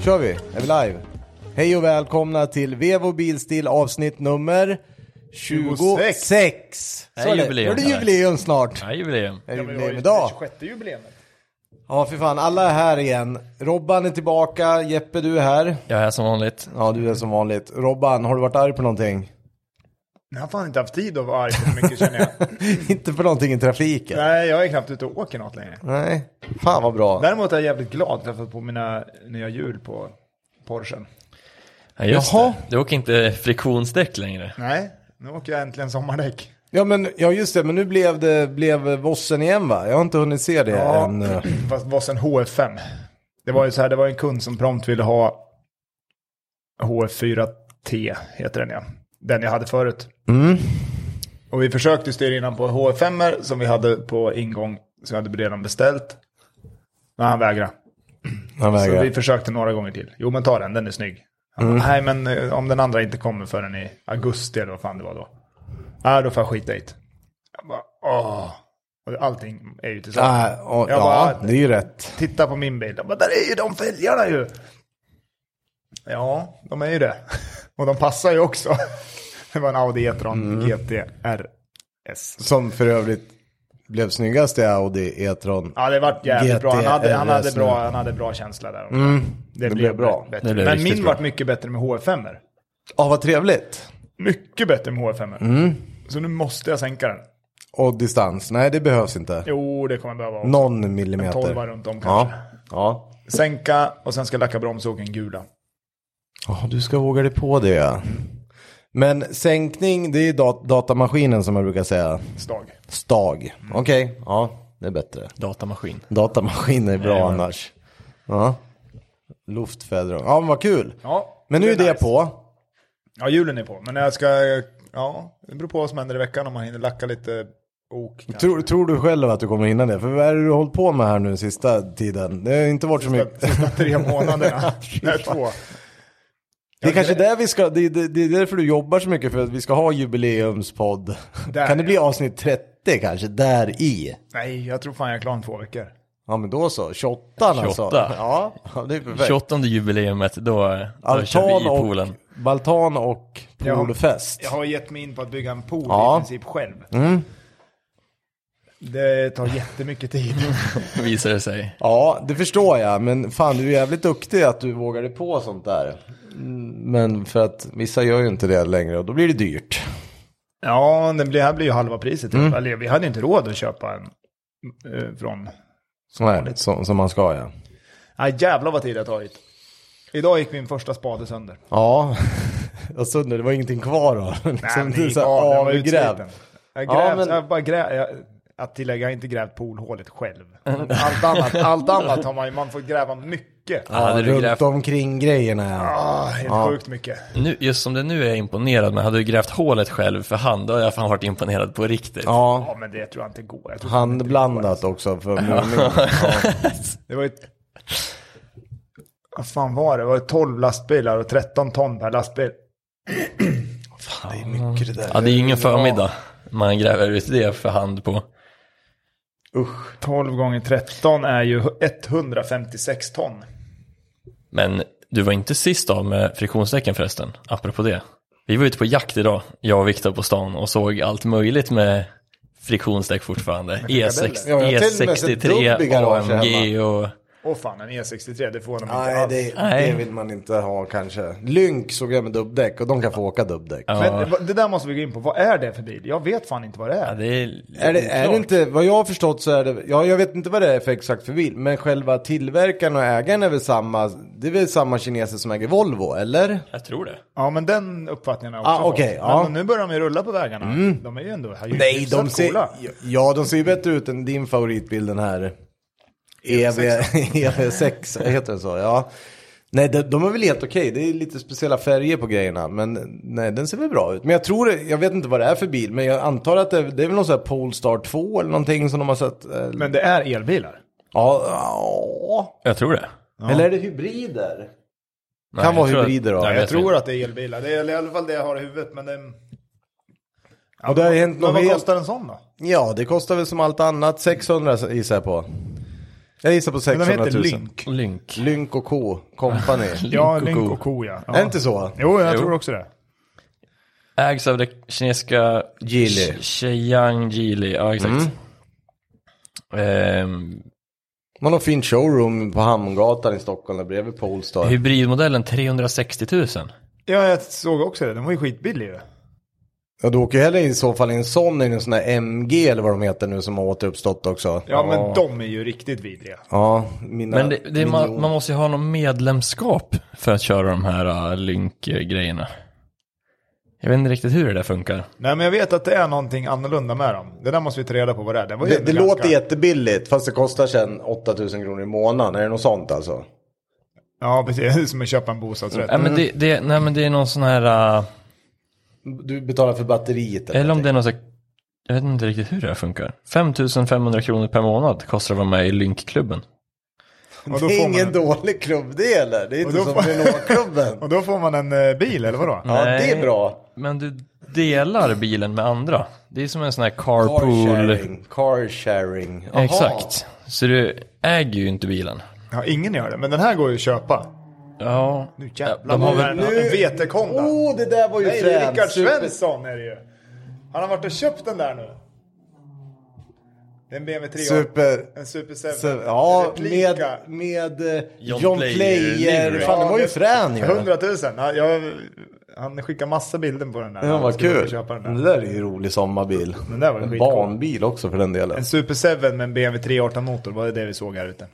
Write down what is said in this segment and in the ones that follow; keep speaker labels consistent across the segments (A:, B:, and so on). A: kör vi. Är vi live? Hej och välkomna till Vevo Bilstil avsnitt nummer 26. 26.
B: Det är
A: Så är det.
B: jubileum,
A: Då är det
B: eller?
A: jubileum snart.
B: Ja, jubileum.
A: Det är
C: men vi har
A: jubileum
C: ju
A: idag.
C: det 26 jubileumet.
A: Ja, för fan. Alla är här igen. Robban är tillbaka. Jeppe, du är här.
B: Jag är här som vanligt.
A: Ja, du är som vanligt. Robban, har du varit arg på någonting?
C: Jag har fan inte haft tid att vara arg så mycket känner jag.
A: Inte för någonting i trafiken.
C: Nej, jag är knappt ute och åker något längre.
A: Nej. Fan vad bra.
C: Däremot är jag jävligt glad för att jag har fått på mina nya hjul på Porschen.
B: Ja, just
A: Jaha.
B: Jaha. Det. Du åker inte friktionsdäck längre.
C: Nej, nu åker jag äntligen sommardäck.
A: Ja, men, ja just det, men nu blev det blev Vossen igen va? Jag har inte hunnit se det än. eh.
C: Fast var sen HF5. Det var ju så här, det var en kund som prompt ville ha HF4T, heter den ja. Den jag hade förut. Och vi försökte styra innan på HF5 som vi hade på ingång, som jag hade redan beställt. Men han vägrade.
A: Han
C: Så
A: vägrar.
C: vi försökte några gånger till. Jo men ta den, den är snygg. Han
A: Mm.
C: bara, Nej men eh, om den andra inte kommer förrän i augusti eller vad fan det var då. Ja då får jag skita i det. Jag bara åh. Och allting är ju till salu.
A: Ah, och,
C: Jag
A: ja,
C: bara-
A: det är ju rätt.
C: Titta på min bil. Jag bara, där är ju de fälgarna ju. Ja, de är ju det. Och de passar ju också. Det var en Audi E-tron
A: Mm.
C: GT RS.
A: Som för övrigt blev snyggast i Audi E-tron.
C: Ja, det vart jävligt
A: GT
C: bra. Han hade, han, hade
A: RS
C: bra
A: nu. Mm.
C: han hade bra känsla där.
A: det blev bra.
C: Bättre.
B: Det blev
C: Men
B: riktigt
C: min
B: bra.
C: vart mycket bättre med HF5. -er.
A: Ja, vad trevligt.
C: Mycket bättre med HF5.
A: Mm.
C: Så nu måste jag sänka den.
A: Och distans, nej det behövs inte.
C: Jo, det kommer jag behöva. också.
A: Någon millimeter.
C: En tolva runt om
A: ja.
C: kanske.
A: ja.
C: Sänka och sen ska jag lacka bromsåken gula.
A: Ja, du ska våga dig på det. ja. Men sänkning, det är dat- datamaskinen som jag brukar säga.
C: Stag.
A: Stag.
C: Mm.
A: Okej, ja, det är bättre.
B: Datamaskin.
A: Datamaskiner är bra annars. Ja. Luftfederal. Ja, men vad kul.
C: Ja,
A: men nu är det
C: nice.
A: på.
C: Ja, hjulen är på. Men jag ska... Ja, det beror på vad som händer i veckan om man hinner lacka lite ok. kanske.
A: Tror, tror du själv att du kommer hinna det? För vad är det du har hållit på med här nu sista tiden? Det har inte varit så mycket.
C: Sista tre månaderna. Nej, två.
A: Det är kanske där vi ska, det är, det det är därför du jobbar så mycket för att vi ska ha jubileumspodd.
C: Där,
A: kan det bli
C: ja.
A: avsnitt 30 kanske, där i?
C: Nej, jag tror fan jag är klar om två veckor.
A: Ja men då så, 28 alltså.
B: 28.
A: Ja, ja, det är perfekt.
B: 28 jubileumet, då, då kör vi
A: Altan
B: i
A: och,
B: poolen.
A: Baltan och
C: Jag har-
A: poolfest.
C: Jag har gett mig in på att bygga en pool
A: Ja. Mm.
C: i princip själv. Det tar jättemycket tid.
B: Visar det sig.
A: Ja, det förstår jag. Men fan, du är jävligt duktig att du vågar dig på sånt där. Mm, Men för att vissa gör ju inte det längre och då blir det dyrt.
C: Ja, den blir, här blir ju halva priset. Mm. Eller, vi hade inte råd att köpa en eh, från...
A: Nej, som, som man ska ja.
C: Nej, jävlar vad tid det har tagit. Idag gick min första spade sönder.
A: Äh, Ja, och så nu, det var ingenting kvar då.
C: Nej,
A: Liksom,
C: men
A: det är
C: gick
A: så här
C: av, den var
A: avgrävt.
C: utsliten. Jag
A: Ja,
C: grävt,
A: men-
C: jag bara grä, jag, att tillägga, jag har inte grävt poolhålet själv. Allt annat, allt annat har man ju, man får gräva mycket.
B: Ja,
A: Ja,
B: hade du
A: runt
B: grävt,
A: omkring grejerna ja.
C: Ah, helt sjukt mycket.
B: nu, just som det nu är jag imponerad, men hade du grävt hålet själv för hand, då hade jag fan varit imponerad på riktigt.
A: Ja,
C: Ja, men det tror jag inte går. Jag tror
A: handblandat också för målning.
C: Det var ju... ett- Vad fan var det? Det var 12 lastbilar och 13 ton per lastbil.
A: Ja, det är mycket det
B: Ja,
A: där.
B: det är ju ingen förmiddag man gräver ut det för hand på.
C: Usch. 12 gånger 13 är ju 156 ton.
B: Men du var inte sist av med friktionsdäcken förresten, apropå det. Vi var ute på jakt idag, jag och Viktor på stan och såg allt möjligt med friktionsdäck fortfarande. E E6,
A: Ja, jag har till och med sett dubb i
B: E63,
A: garaget
B: AMG och...
C: Och fan, en E63, det får de inte
A: Nej,
C: alls.
A: det,
B: Nej.
A: det vill man inte ha kanske. Lynk såg jag med dubbdäck och de kan få åka dubbdäck.
B: Ja.
C: Men det- det där måste vi gå in på. Vad är det för bil? Jag vet fan inte vad det
B: Ja,
C: är.
B: det är,
A: Är det, är det inte, vad jag har förstått så är det, ja, jag vet inte vad det är för exakt för bil, men själva tillverkaren och ägaren är väl samma, det är väl samma kineser som äger Volvo, eller?
B: Jag tror det.
C: Ja, men den uppfattningen har jag också
A: Ah, okej,
C: fått.
A: ja.
C: Men nu börjar de ju rulla på vägarna. Mm. De är ju ändå här, ju hyfsat coola.
A: ja de ser ju bättre ut än din favoritbil den här. E EV, EV6, heter den så? Ja. Nej, de, de är väl helt okej, det är lite speciella färger på grejerna, men nej, den ser väl bra ut. Men jag tror, det- jag vet inte vad det är för bil, men jag antar att det, det är väl någon sån här Polestar 2 eller någonting som de har sett. eh,
C: Men det är elbilar.
A: Ja, ja.
B: Jag tror det.
A: Eller är det hybrider?
B: Nej,
A: Kan vara
B: jag tror att-
A: hybrider då.
B: Nej,
A: Jag
C: Jag,
B: vet
C: tror
B: inte.
C: att det är elbilar. Det är i alla fall det jag har i huvudet. Men, det...
A: Och det har ju hänt
C: men
A: något
C: vad
A: helt...
C: kostar en sån då?
A: Ja, det kostar väl som allt annat 600 gissar jag på. Jag gissar på
C: Men de
A: 600
C: heter
A: 000.
C: Lynk.
B: Lynk.
A: Lynk och K, Company.
C: Ja,
B: Lynk och
C: Lynk
B: Co.
C: och Co ja. ja.
A: Är det inte så?
C: Jo, jag
B: Jo.
C: tror också det.
B: Ägs av det kinesiska
A: Geely.
B: Sh- Shenyang Geely, ja exakt.
A: Mm.
B: Ehm,
A: Man har fin showroom på Hamngatan i Stockholm, där bredvid Polestar.
B: hybridmodellen 360 000.
C: Ja, jag såg också det. Den var ju skitbillig ju.
A: Ja, du åker ju hellre i så fall i en sån, i en sån där MG eller vad de heter nu som har återuppstått också.
C: Ja, men de är ju riktigt vidriga.
A: Ja, mina...
B: Men det, det, är- man,
A: miljoner.
B: man måste ju ha något medlemskap för att köra de här äh, Lynk-grejerna. Jag vet inte riktigt hur det där funkar.
C: Nej, men jag vet att det är någonting annorlunda med dem. Det där måste vi ta reda på vad det är. Den var ju
A: Det, det
C: ganska-
A: låter jättebilligt, fast det kostar sen 8000 kronor i månaden. Är det något sånt alltså?
C: Ja, precis. Som att köpa en bostadsrätt.
A: Mm.
B: Nej, Äh, men det, det, nej men det är någon sån här, äh,
A: Du betalar för batteriet
B: eller om det är någon sån här, jag vet inte riktigt hur det här funkar. 5500 kronor per månad kostar det att vara med i Lynk-klubben.
C: och då
A: Det är
C: får man
A: ingen
C: en,
A: dålig klubb det eller? Det är inte
C: då
A: som
C: får-
A: Renault-klubben.
C: Och då får man en eh, bil, eller vadå?
A: Ja, det är
B: Nej.
A: bra.
B: Men du delar bilen med andra. Det är som en sån här carpool.
A: Carsharing. Carsharing. Jaha.
B: Exakt. Så du äger ju inte bilen.
C: Ja, ingen gör det. Men den här går ju att köpa.
B: Ja.
C: Nu
B: Ja, de har väl-
C: Nu... Vetekonda.
A: Oh, det där var ju
C: Nej, det är Rickard
A: fränt. Super-
C: Svensson är det ju. Han har varit och köpt den där nu. Det är en BMW 3.
A: Super.
C: En Super 7.
A: Så, ja,
C: Replika.
A: med, med eh,
B: John
A: John
B: Player
A: Player.
B: Livery.
A: Fan, den var ju frän ju.
C: 100 000. Ja, jag, han skickar massa bilder på den där.
A: Den
C: Han
A: var
C: skulle
A: kul.
C: Köpa den
A: Den
C: där.
A: där är ju en rolig sommarbil.
C: Den där var
A: En
C: skitcool.
A: barnbil också för den delen.
C: En Super 7 med en BMW 318 motor. Vad är det vi såg här ute?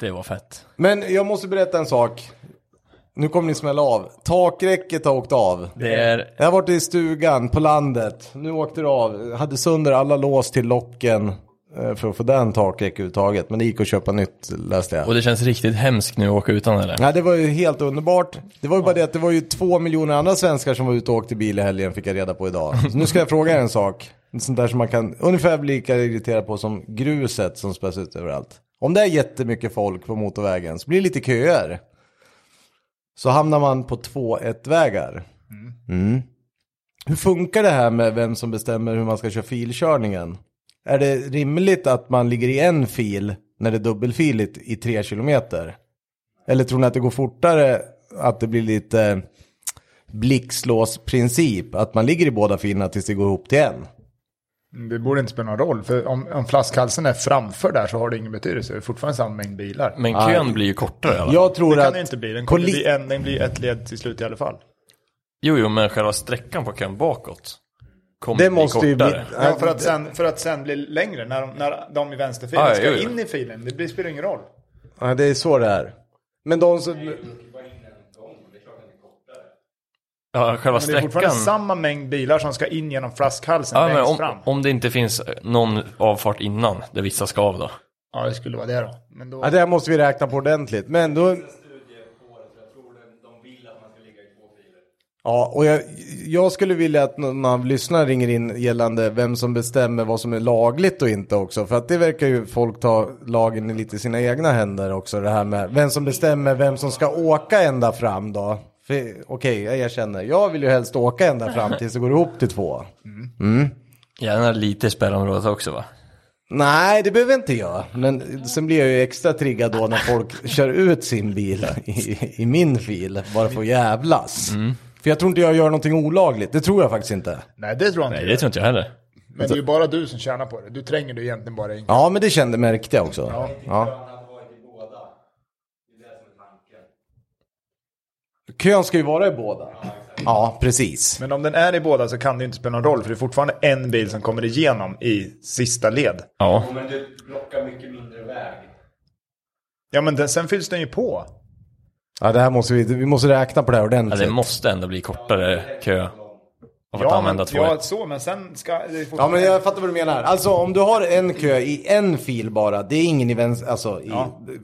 B: Det var fett.
A: Men jag måste berätta en sak. Nu kommer ni smälla av. Takräcket har åkt av.
B: Det är
A: Jag har varit i stugan på landet. Nu åkte det av. Jag hade sönder alla lås till locken eh, för att få den takräck överhuvudtaget. Men det gick att köpa nytt läste jag.
B: Och det känns riktigt hemskt nu att åka utan eller?
A: Nej, det var ju helt underbart. Det var ju bara det att det var ju två miljoner andra svenskar som var ute och åkte bil i helgen fick jag reda på idag. Så nu ska jag fråga er en sak. Sånt där som man kan ungefär bli lika irriterad på som gruset som späs ut överallt. Om det är jättemycket folk på motorvägen så blir det lite köer. Så hamnar man på 2-1-vägar. Mm. Hur funkar det här med vem som bestämmer hur man ska köra filkörningen? Är det rimligt att man ligger i en fil när det är dubbelfiligt i tre kilometer? Eller tror ni att det går fortare att det blir lite blixtlåsprincip? Att man ligger i båda filerna tills det går ihop till en?
C: Det borde inte spela någon roll. För om, om flaskhalsen är framför där så har det ingen betydelse. Det är fortfarande samma mängd bilar.
B: Men kön blir ju kortare eller?
A: Jag tror
C: det kan
A: att...
C: det ju inte bli. Den
A: på
C: kommer
A: li-
C: bli en, den blir ett led till slut i alla fall.
B: Jo, jo, men själva sträckan på kön bakåt kommer
A: Det
B: bli
A: måste ju bli...
B: kortare.
C: Ja, för, att sen, för att sen bli längre när de, när de i vänsterfilen
B: Ah,
C: ska
B: jo, jo.
C: in i filen. Det blir, spelar ingen roll.
A: Ja, det är så det är. Men de som...
B: Ja, själva
C: Men det är fortfarande
B: sträckan.
C: samma mängd bilar som ska in genom flaskhalsen
B: Ja, men
C: längst
B: om,
C: fram.
B: om det inte finns eh, någon avfart innan där vissa ska av då.
C: Ja, det skulle vara det då. Men då...
A: Ja, det här måste vi räkna på ordentligt. Men då... Ja, och jag, jag skulle vilja att någon av lyssnarna ringer in gällande vem som bestämmer vad som är lagligt och inte också. För att det verkar ju folk ta lagen i lite sina egna händer också. Det här med vem som bestämmer vem som ska åka ända fram då. För, Okej, jag erkänner. Jag vill ju helst åka ända fram tills det går ihop till två.
B: Gärna lite i spärrområdet också va?
A: Nej, det behöver jag inte jag. Men sen blir jag ju extra triggad då när folk kör ut sin bil i, i min fil. Bara för att jävlas.
D: Mm.
A: För jag tror inte jag gör någonting olagligt. Det tror jag faktiskt inte.
C: Nej, det tror jag inte.
B: Nej, det tror inte jag heller.
C: Men det är ju bara du som tjänar på det. Du tränger dig egentligen bara in.
A: Ja, men det kände märkte jag också. Ja. Kön ska ju vara i båda. Ja, precis.
C: Men om den är i båda så kan det ju inte spela någon roll. För det är fortfarande en bil som kommer igenom i sista led.
B: Ja.
D: Men du blockar mycket mindre väg.
C: Ja, men den, sen fylls den ju på.
A: Ja, det här måste vi, vi måste räkna på det här
B: ja, det
A: ordentligt.
B: måste ändå bli kortare kö. Av att
C: Ja,
B: använda
C: men,
B: två.
C: ja, så, men sen ska... Det är
A: Ja
C: fortfarande-
A: men jag fattar vad du menar. Alltså om du har en kö i en fil bara, det är ingen i vänster, alltså i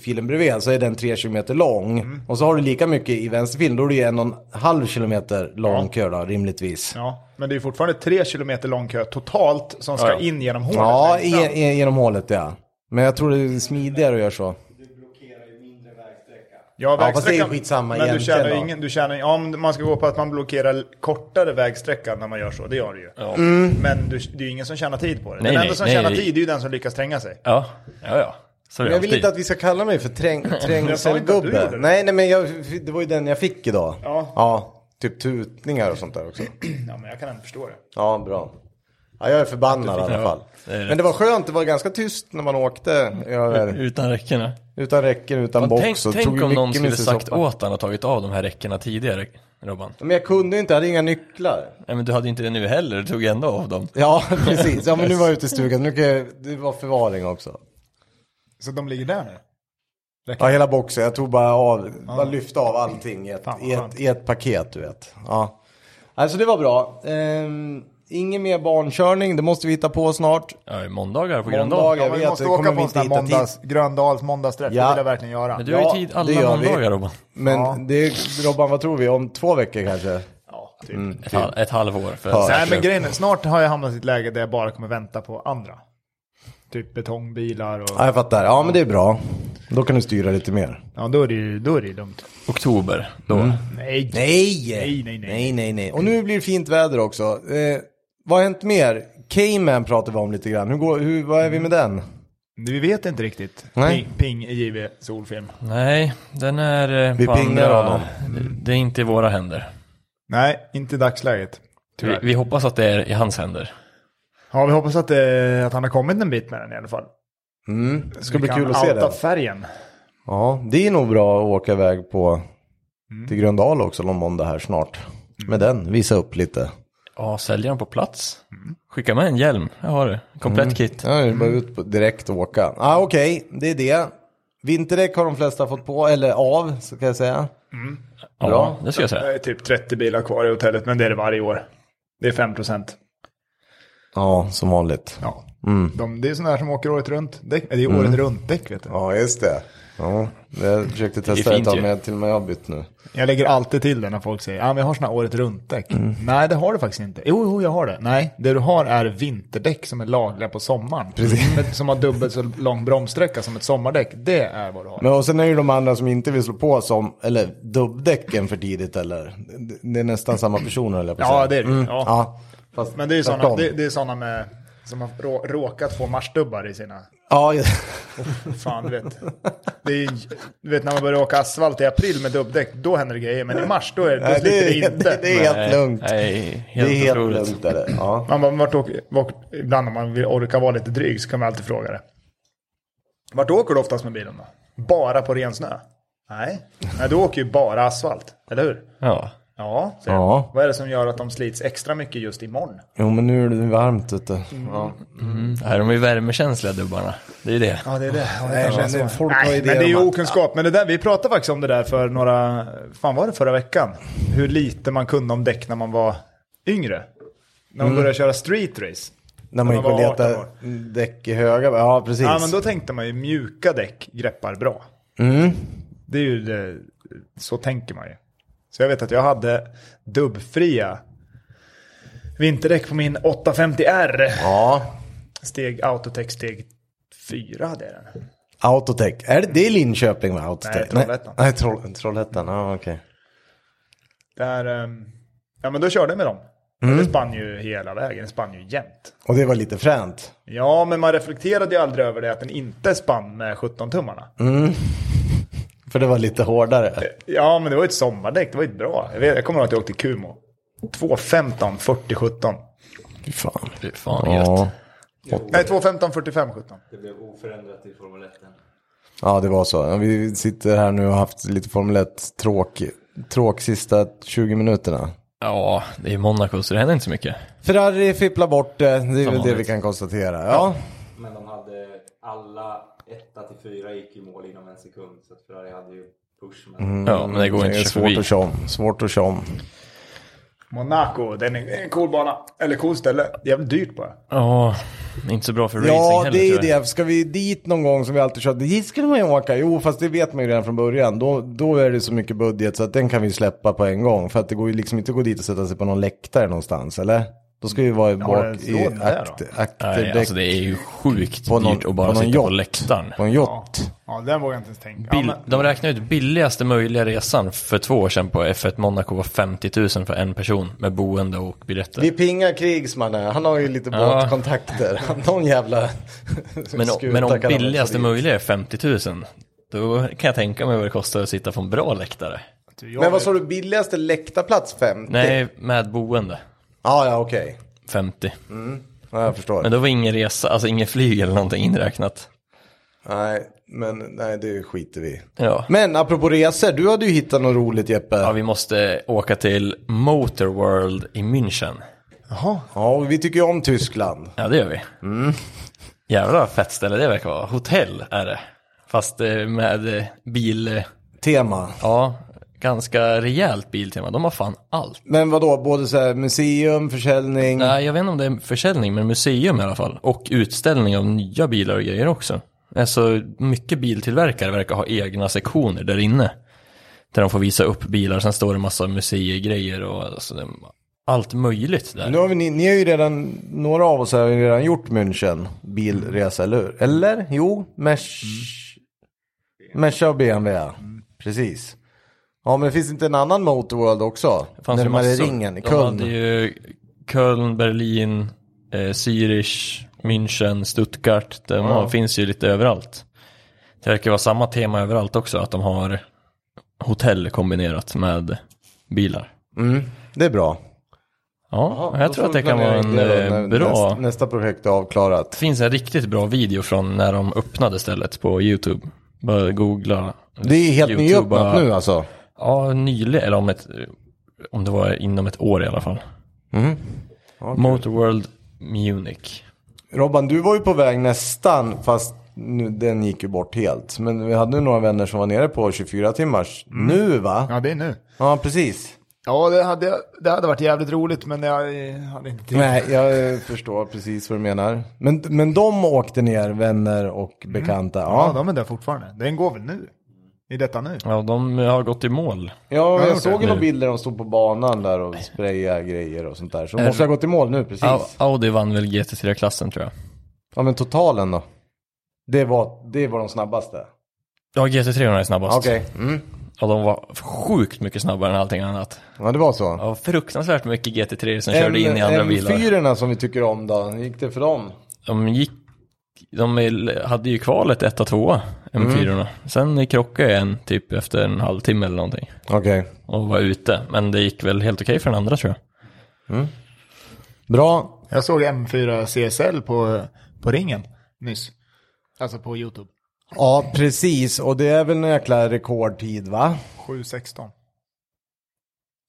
A: filen bredvid så är den 3 km lång.
C: Mm.
A: Och så har du lika mycket i vänsterfilen, då är det ju en och en halv kilometer lång kö då rimligtvis.
C: Ja, men det är ju fortfarande tre kilometer lång kö totalt som ska
B: Ja, ja.
C: in genom hålet.
A: Ja,
C: längst fram.
A: i, i, genom hålet ja. Men jag tror det är smidigare att göra så.
C: ja,
A: fast
C: vägsträckan-
A: det är ju skitsamma
C: Men du
A: egentligen
C: tjänar ju
A: då.
C: ingen, du tjänar, ja, men man ska gå på att man blockerar kortare vägsträckan när man gör så, det gör du ju.
B: Ja.
A: Mm.
C: Men du, det är ju ingen som tjänar tid på det.
B: Nej,
C: den
B: nej,
C: enda som
B: nej,
C: tjänar
B: nej.
C: tid är ju den som lyckas tränga sig.
B: Ja, ja, ja. Så är
A: Men
B: det
A: jag vill
B: alltid.
A: inte att vi ska kalla mig för träng,
C: Jag sa inte att du gjorde
A: trängselgubbe.
C: det.
A: Nej, nej, men jag, det var ju den jag fick idag.
C: Ja.
A: typ tutningar och sånt där också.
C: Ja, men jag kan ändå förstå det.
A: Ja, bra. Ja, jag är förbannad i alla
B: ja.
A: fall.
B: Det är rätt.
A: men det var skönt, det var ganska tyst när man åkte över,
B: Utan räckena.
A: utan räcken, utan
B: Fan,
A: box.
B: tänk
A: så tog
B: tänk
A: ju
B: om någon
A: mycket
B: skulle
A: mindre
B: sagt
A: soppa.
B: åt han att tagit av de här räckena tidigare, Robban.
A: Men jag kunde ju inte, jag hade inga nycklar.
B: Nej men du hade inte det nu heller, du tog ändå av dem.
A: Ja, precis. Ja, men nu var jag ute i stugan. Nu kan jag, det var förvaring också.
C: Så de ligger där nu?
A: Ja, hela boxen. Jag tog bara av, bara lyfte av allting i ett,
C: Fan, vad
A: i
C: skönt.
A: ett, i ett paket, du vet. Ja. Alltså det var bra. Ehm, ingen mer barnkörning, det måste vi hitta på snart.
B: Ja, i måndagar på
A: Måndagar.
B: gröndag.
A: Jag
C: Ja, men vi
A: vet,
C: måste
A: det
C: åka
A: kommer
C: på
A: vi
C: en sån här
A: inte hitta
C: måndags, Gröndals måndagsträff.
A: Ja.
C: Det vill jag verkligen göra.
B: Men du har
A: Ja,
B: ju tid
A: det
B: alla
A: gör vi. Typ.
B: måndagar Robban.
A: Men
C: Ja.
A: det, Robban, vad tror vi? Om två veckor kanske?
C: Ja, typ.
A: Mm.
B: Ett, hal- ett halvår för
A: Ja.
B: en
C: Nej,
B: säker
C: men grejen är, snart har jag hamnat i ett läge där jag bara kommer vänta på andra. Typ betongbilar och...
A: Ja, jag fattar. Ja, men det är bra. Då kan du styra lite mer.
C: Ja, då är det ju då är det ju dumt.
B: oktober. Då.
A: Mm.
C: Nej.
A: Nej!
C: Nej, nej, nej.
A: nej, nej, nej. Och nu blir det fint väder också. Eh, vad har hänt mer? Cayman pratar vi om lite grann. Hur går, hur, vad är vi med den?
C: Vi vet inte riktigt.
A: Nej.
C: Ping, ping i JV Solfilm.
B: Nej, den är eh,
A: Vi
B: på
A: pingar
B: andra-
A: honom.
B: Det- Det är inte i våra händer.
C: Nej, inte i dagsläget.
B: Vi,
C: Tyvärr.
B: vi hoppas att det är i hans händer.
C: Ja, vi hoppas att, eh, att han har kommit en bit med den i alla fall.
A: Mm. Det ska
C: Vi
A: bli
C: kan
A: kul att se
C: outa
A: den.
C: färgen.
A: Ja, det är nog bra att åka iväg på
C: Mm.
A: till Gröndal också någon måndag här snart. Med den, visa upp lite.
B: Ja, sälja den på plats. Skicka med en hjälm, jag har det. Komplett
A: Mm.
B: kit.
A: Ja, det är bara
C: Mm.
A: ut på, direkt och åka. Ah, Okej, det är det. Vinterdäck har de flesta fått på, eller av, så kan jag säga.
B: Ja,
A: Bra.
B: det ska jag säga.
C: Det är typ 30 bilar kvar i hotellet, men det är det varje år. Det är 5 procent.
A: Ja, som vanligt.
C: Ja.
A: Mm.
C: De, det är sådana här som åker året runt. Däck, det är året runt däck, vet du.
A: Ja, just det. Ja, jag försökte testa ett
B: fint
A: tag,
B: ju.
A: men jag- till och med jag har bytt nu.
C: Jag lägger alltid till det när folk säger ah, men jag har sådana året runt-däck.
A: Mm.
C: Nej, det har du faktiskt inte. Jo, jo, jag har det. Nej, det du har är vinterdäck som är lagliga på sommaren. Precis. Som har dubbelt så lång bromssträcka som ett sommardäck. Det är vad du har.
A: Men och sen är det ju de andra som inte vill slå på som, eller dubbdäcken för tidigt eller. Det- Det är nästan samma personer eller på att
C: Ja,
A: säga.
C: det är det ju. Ja.
A: Ja, fast
C: Men det är ju sådana,
A: tvärtom.
C: det, det är såna med, som har rå- råkat få marsdubbar i sina...
A: Ja, just-
C: Fan, du vet. Det är, ju- du vet när man börjar åka asfalt i april med dubbdäck, då händer det grejer. Men i mars, då är det, då
A: Nej,
C: sliter det
A: det, är-
C: inte.
A: det, det är helt lugnt.
B: Nej,
A: Det är
B: helt
A: helt
B: otroligt.
A: lugnt. Är det. Ja.
C: Man bara, vart åker, vart, ibland om man vill orka vara lite dryg så kan man alltid fråga det. Vart åker du oftast med bilen då? Bara på ren snö? Nej, Nej du åker ju bara asfalt, eller hur?
B: Ja.
C: Ja, säger
A: Ja.
C: jag. Vad är det som gör att de slits extra mycket just imorgon?
A: Jo, men nu är det varmt ute.
C: Mm.
A: Ja.
B: Nej, de är ju värmekänsliga dubbarna. Det är ju det.
C: Ja, det är det.
A: Nej, men det- folk har
C: Nej,
A: idéer
C: men det är ju
A: om att-
C: okunskap. Men det där, vi pratade faktiskt om det där för några, fan var det förra veckan? Hur lite man kunde om däck när man var yngre. När man började köra street race.
A: När man gick och
C: var 18
A: letade
C: år.
A: däck i höga. Ja, precis.
C: Ja, men då tänkte man ju mjuka däck greppar bra.
A: mm.
C: Det är ju det, så tänker man ju. Så jag vet att jag hade dubbfria vinterdäck på min 850R.
A: ja.
C: Steg Autotech steg 4 hade jag den.
A: Autotech. Är det, det är Linköping va? Autotech?
C: Nej, Trollhättan.
A: Nej, Troll, Trollhättan. Ja, okej.
C: Där, ehm, ja men då körde jag med dem. Mm. Det spann ju hela vägen, det spann ju jämt.
A: Och det var lite fränt.
C: Ja, men man reflekterade ju aldrig över det att den inte spann med 17-tummarna.
A: För det var lite hårdare.
C: Ja, men det var ju ett sommardäck, det var ju bra. Jag, vet, jag kommer ihåg att jag åkte Kumo. 2.15, 40, 17.
A: Fy fan.
B: Fy fan gött.
A: Ja.
C: Nej, 2.15, 45, 17.
D: Det blev oförändrat i Formel 1. än.
A: ja, det var så. Ja, Vi sitter här nu och har haft lite Formel 1-tråk tråk sista 20 minuterna.
B: Ja, det är Monaco så det händer inte så mycket.
A: Ferrari fipplar bort det. Det är väl det
B: vanligt.
A: vi kan konstatera. Ja.
D: Men de hade alla etta till fyra gick i mål inom en sekund. Så att Ferrari hade ju push. Men
A: Mm.
B: Ja, men det går
A: Det
B: inte
A: är
B: så förbi.
A: svårt att köra om. Svårt att köra om.
C: Monaco, den är en cool bana. Eller cool ställe. Jävligt dyrt bara.
B: Ja, inte så bra för
A: Ja,
B: racing
A: det är ju
B: heller tyvärr.
A: det. Ska vi dit någon gång som vi alltid kör, dit skulle man ju åka. Jo, fast det vet man ju redan från början. Då, då är det så mycket budget så att den kan vi släppa på en gång. För att det går ju liksom inte att gå dit och sätta sig på någon läktare någonstans, eller? Då ska vi vara i
C: har
A: bak
C: du
A: i
C: råd med det
A: akt,
C: då?
B: Nej,
A: akterdäck
B: alltså det är ju sjukt
A: På någon-
B: dyrt att bara
A: på någon
B: sitta på
A: yacht.
B: läktaren.
A: på en yacht.
C: Ja, den vågar jag inte ens tänka.
B: Bil,
C: Ja, men,
B: De räknade ut billigaste möjliga resan för två år sedan på F1 Monaco var 50 000 för en person med boende och biljetter.
A: Vi pingar Krigsman här. Han har ju lite
B: Ja.
A: båtkontakter. Någon jävla
B: Men,
A: skuta
B: men om
A: kan han
B: billigaste
A: väl ta dit.
B: möjliga är 50 000, då kan jag tänka mig vad det kostar att sitta på en bra läktare.
C: du, typ, jag
A: Men vad sa du, billigaste läktarplats 50?
B: Nej, med boende.
A: Ja, ja, okej.
B: 50.
A: Mm. Ja, jag förstår.
B: Men då var ingen resa, alltså ingen flyg eller någonting inräknat.
A: Nej, men nej, det skiter vi i.
B: Ja.
A: Men apropå resor, du hade ju hittat något roligt Jeppe.
B: ja,
A: Ja,
B: vi måste åka till Motorworld i München.
C: Jaha.
A: och vi tycker ju om Tyskland.
B: Ja, det gör vi. Mm. Jävlar vad fett ställe det verkar vara. Hotell är det. Fast eh, med eh, bil, eh,
A: Tema.
B: ja, ganska rejält biltema. De har fan allt.
A: Men vadå, både så här museum, försäljning?
B: Nej, jag vet inte om det är försäljning, men museum i alla fall. Och utställning av nya bilar och grejer också. Alltså, mycket biltillverkare verkar ha egna sektioner där inne. Där de får visa upp bilar, sen står det massa museigrejer och alltså, det är allt möjligt där.
A: Nu har vi, ni, ni har ju redan, några av oss har ju redan gjort München bilresa, eller hur? Eller? Jo, Mesh... Mesha och BMW, ja. Precis. Ja, men det finns inte en annan Motorworld också?
B: ju
A: Närmare
B: massor.
A: ringen,
B: De
A: Köln.
B: hade ju Köln, Berlin, eh, Zürich, München, Stuttgart. De har, finns ju lite överallt. Det verkar vara samma tema överallt också, att de har hotell kombinerat med bilar.
A: Det är bra.
B: Ja,
A: då
B: jag tror
A: får
B: att det
A: vi
B: kan vara en
A: planera det då
B: eh,
A: när
B: bra...
A: Nästa, nästa projekt är avklarat.
B: Det finns en riktigt bra video från när de öppnade stället på YouTube. Bara googla.
A: Det är helt
B: YouTube
A: nyöppnat
B: bara-
A: nu alltså.
B: Ja, nyligen, eller om, ett, om det var inom ett år i alla fall. Motorworld Munich.
A: Robban, du var ju på väg nästan, fast nu, den gick ju bort helt. Men vi hade ju några vänner som var nere på 24 timmars. Nu va? Mm. Ja,
C: Ja, det är nu.
A: precis.
C: Ja, det hade, jag- det hade varit jävligt roligt, men jag eh, hade inte tid.
A: Nej, jag eh, förstår precis vad du menar. Men, men de åkte ner, vänner och bekanta.
C: Ja,
A: Ja,
C: de är där fortfarande. Den går väl nu? I detta nu?
B: Ja, de har gått i mål.
A: ja
C: Ja,
A: jag såg ju
B: okej.
A: några bilder de stod på banan där och sprayade grejer och sånt där. Så de måste ha gått i mål nu,
B: Au-
A: precis.
B: Audi vann väl GT3-klassen tror jag.
A: Ja, men totalen då? Det var, det var de snabbaste.
B: Ja, GT3 är snabbast.
A: Okej. Mm.
B: Och de var sjukt mycket snabbare än allting annat.
A: Ja, det var så.
B: Ja, fruktansvärt mycket GT3 som körde in i andra bilar.
A: M4 som vi tycker om då, hur gick det för dem?
B: De gick... De vill- hade ju kvalet 1 tvåa, M4. Sen krockade jag en typ efter en halvtimme eller någonting.
A: Okej.
B: Och var ute. Men det gick väl helt okej för den andra tror jag.
A: Bra.
C: Jag såg M4 CSL på, på ringen nyss. Alltså på YouTube.
A: Ja, precis. Och det är väl en jäkla rekordtid, va?
C: 7.16.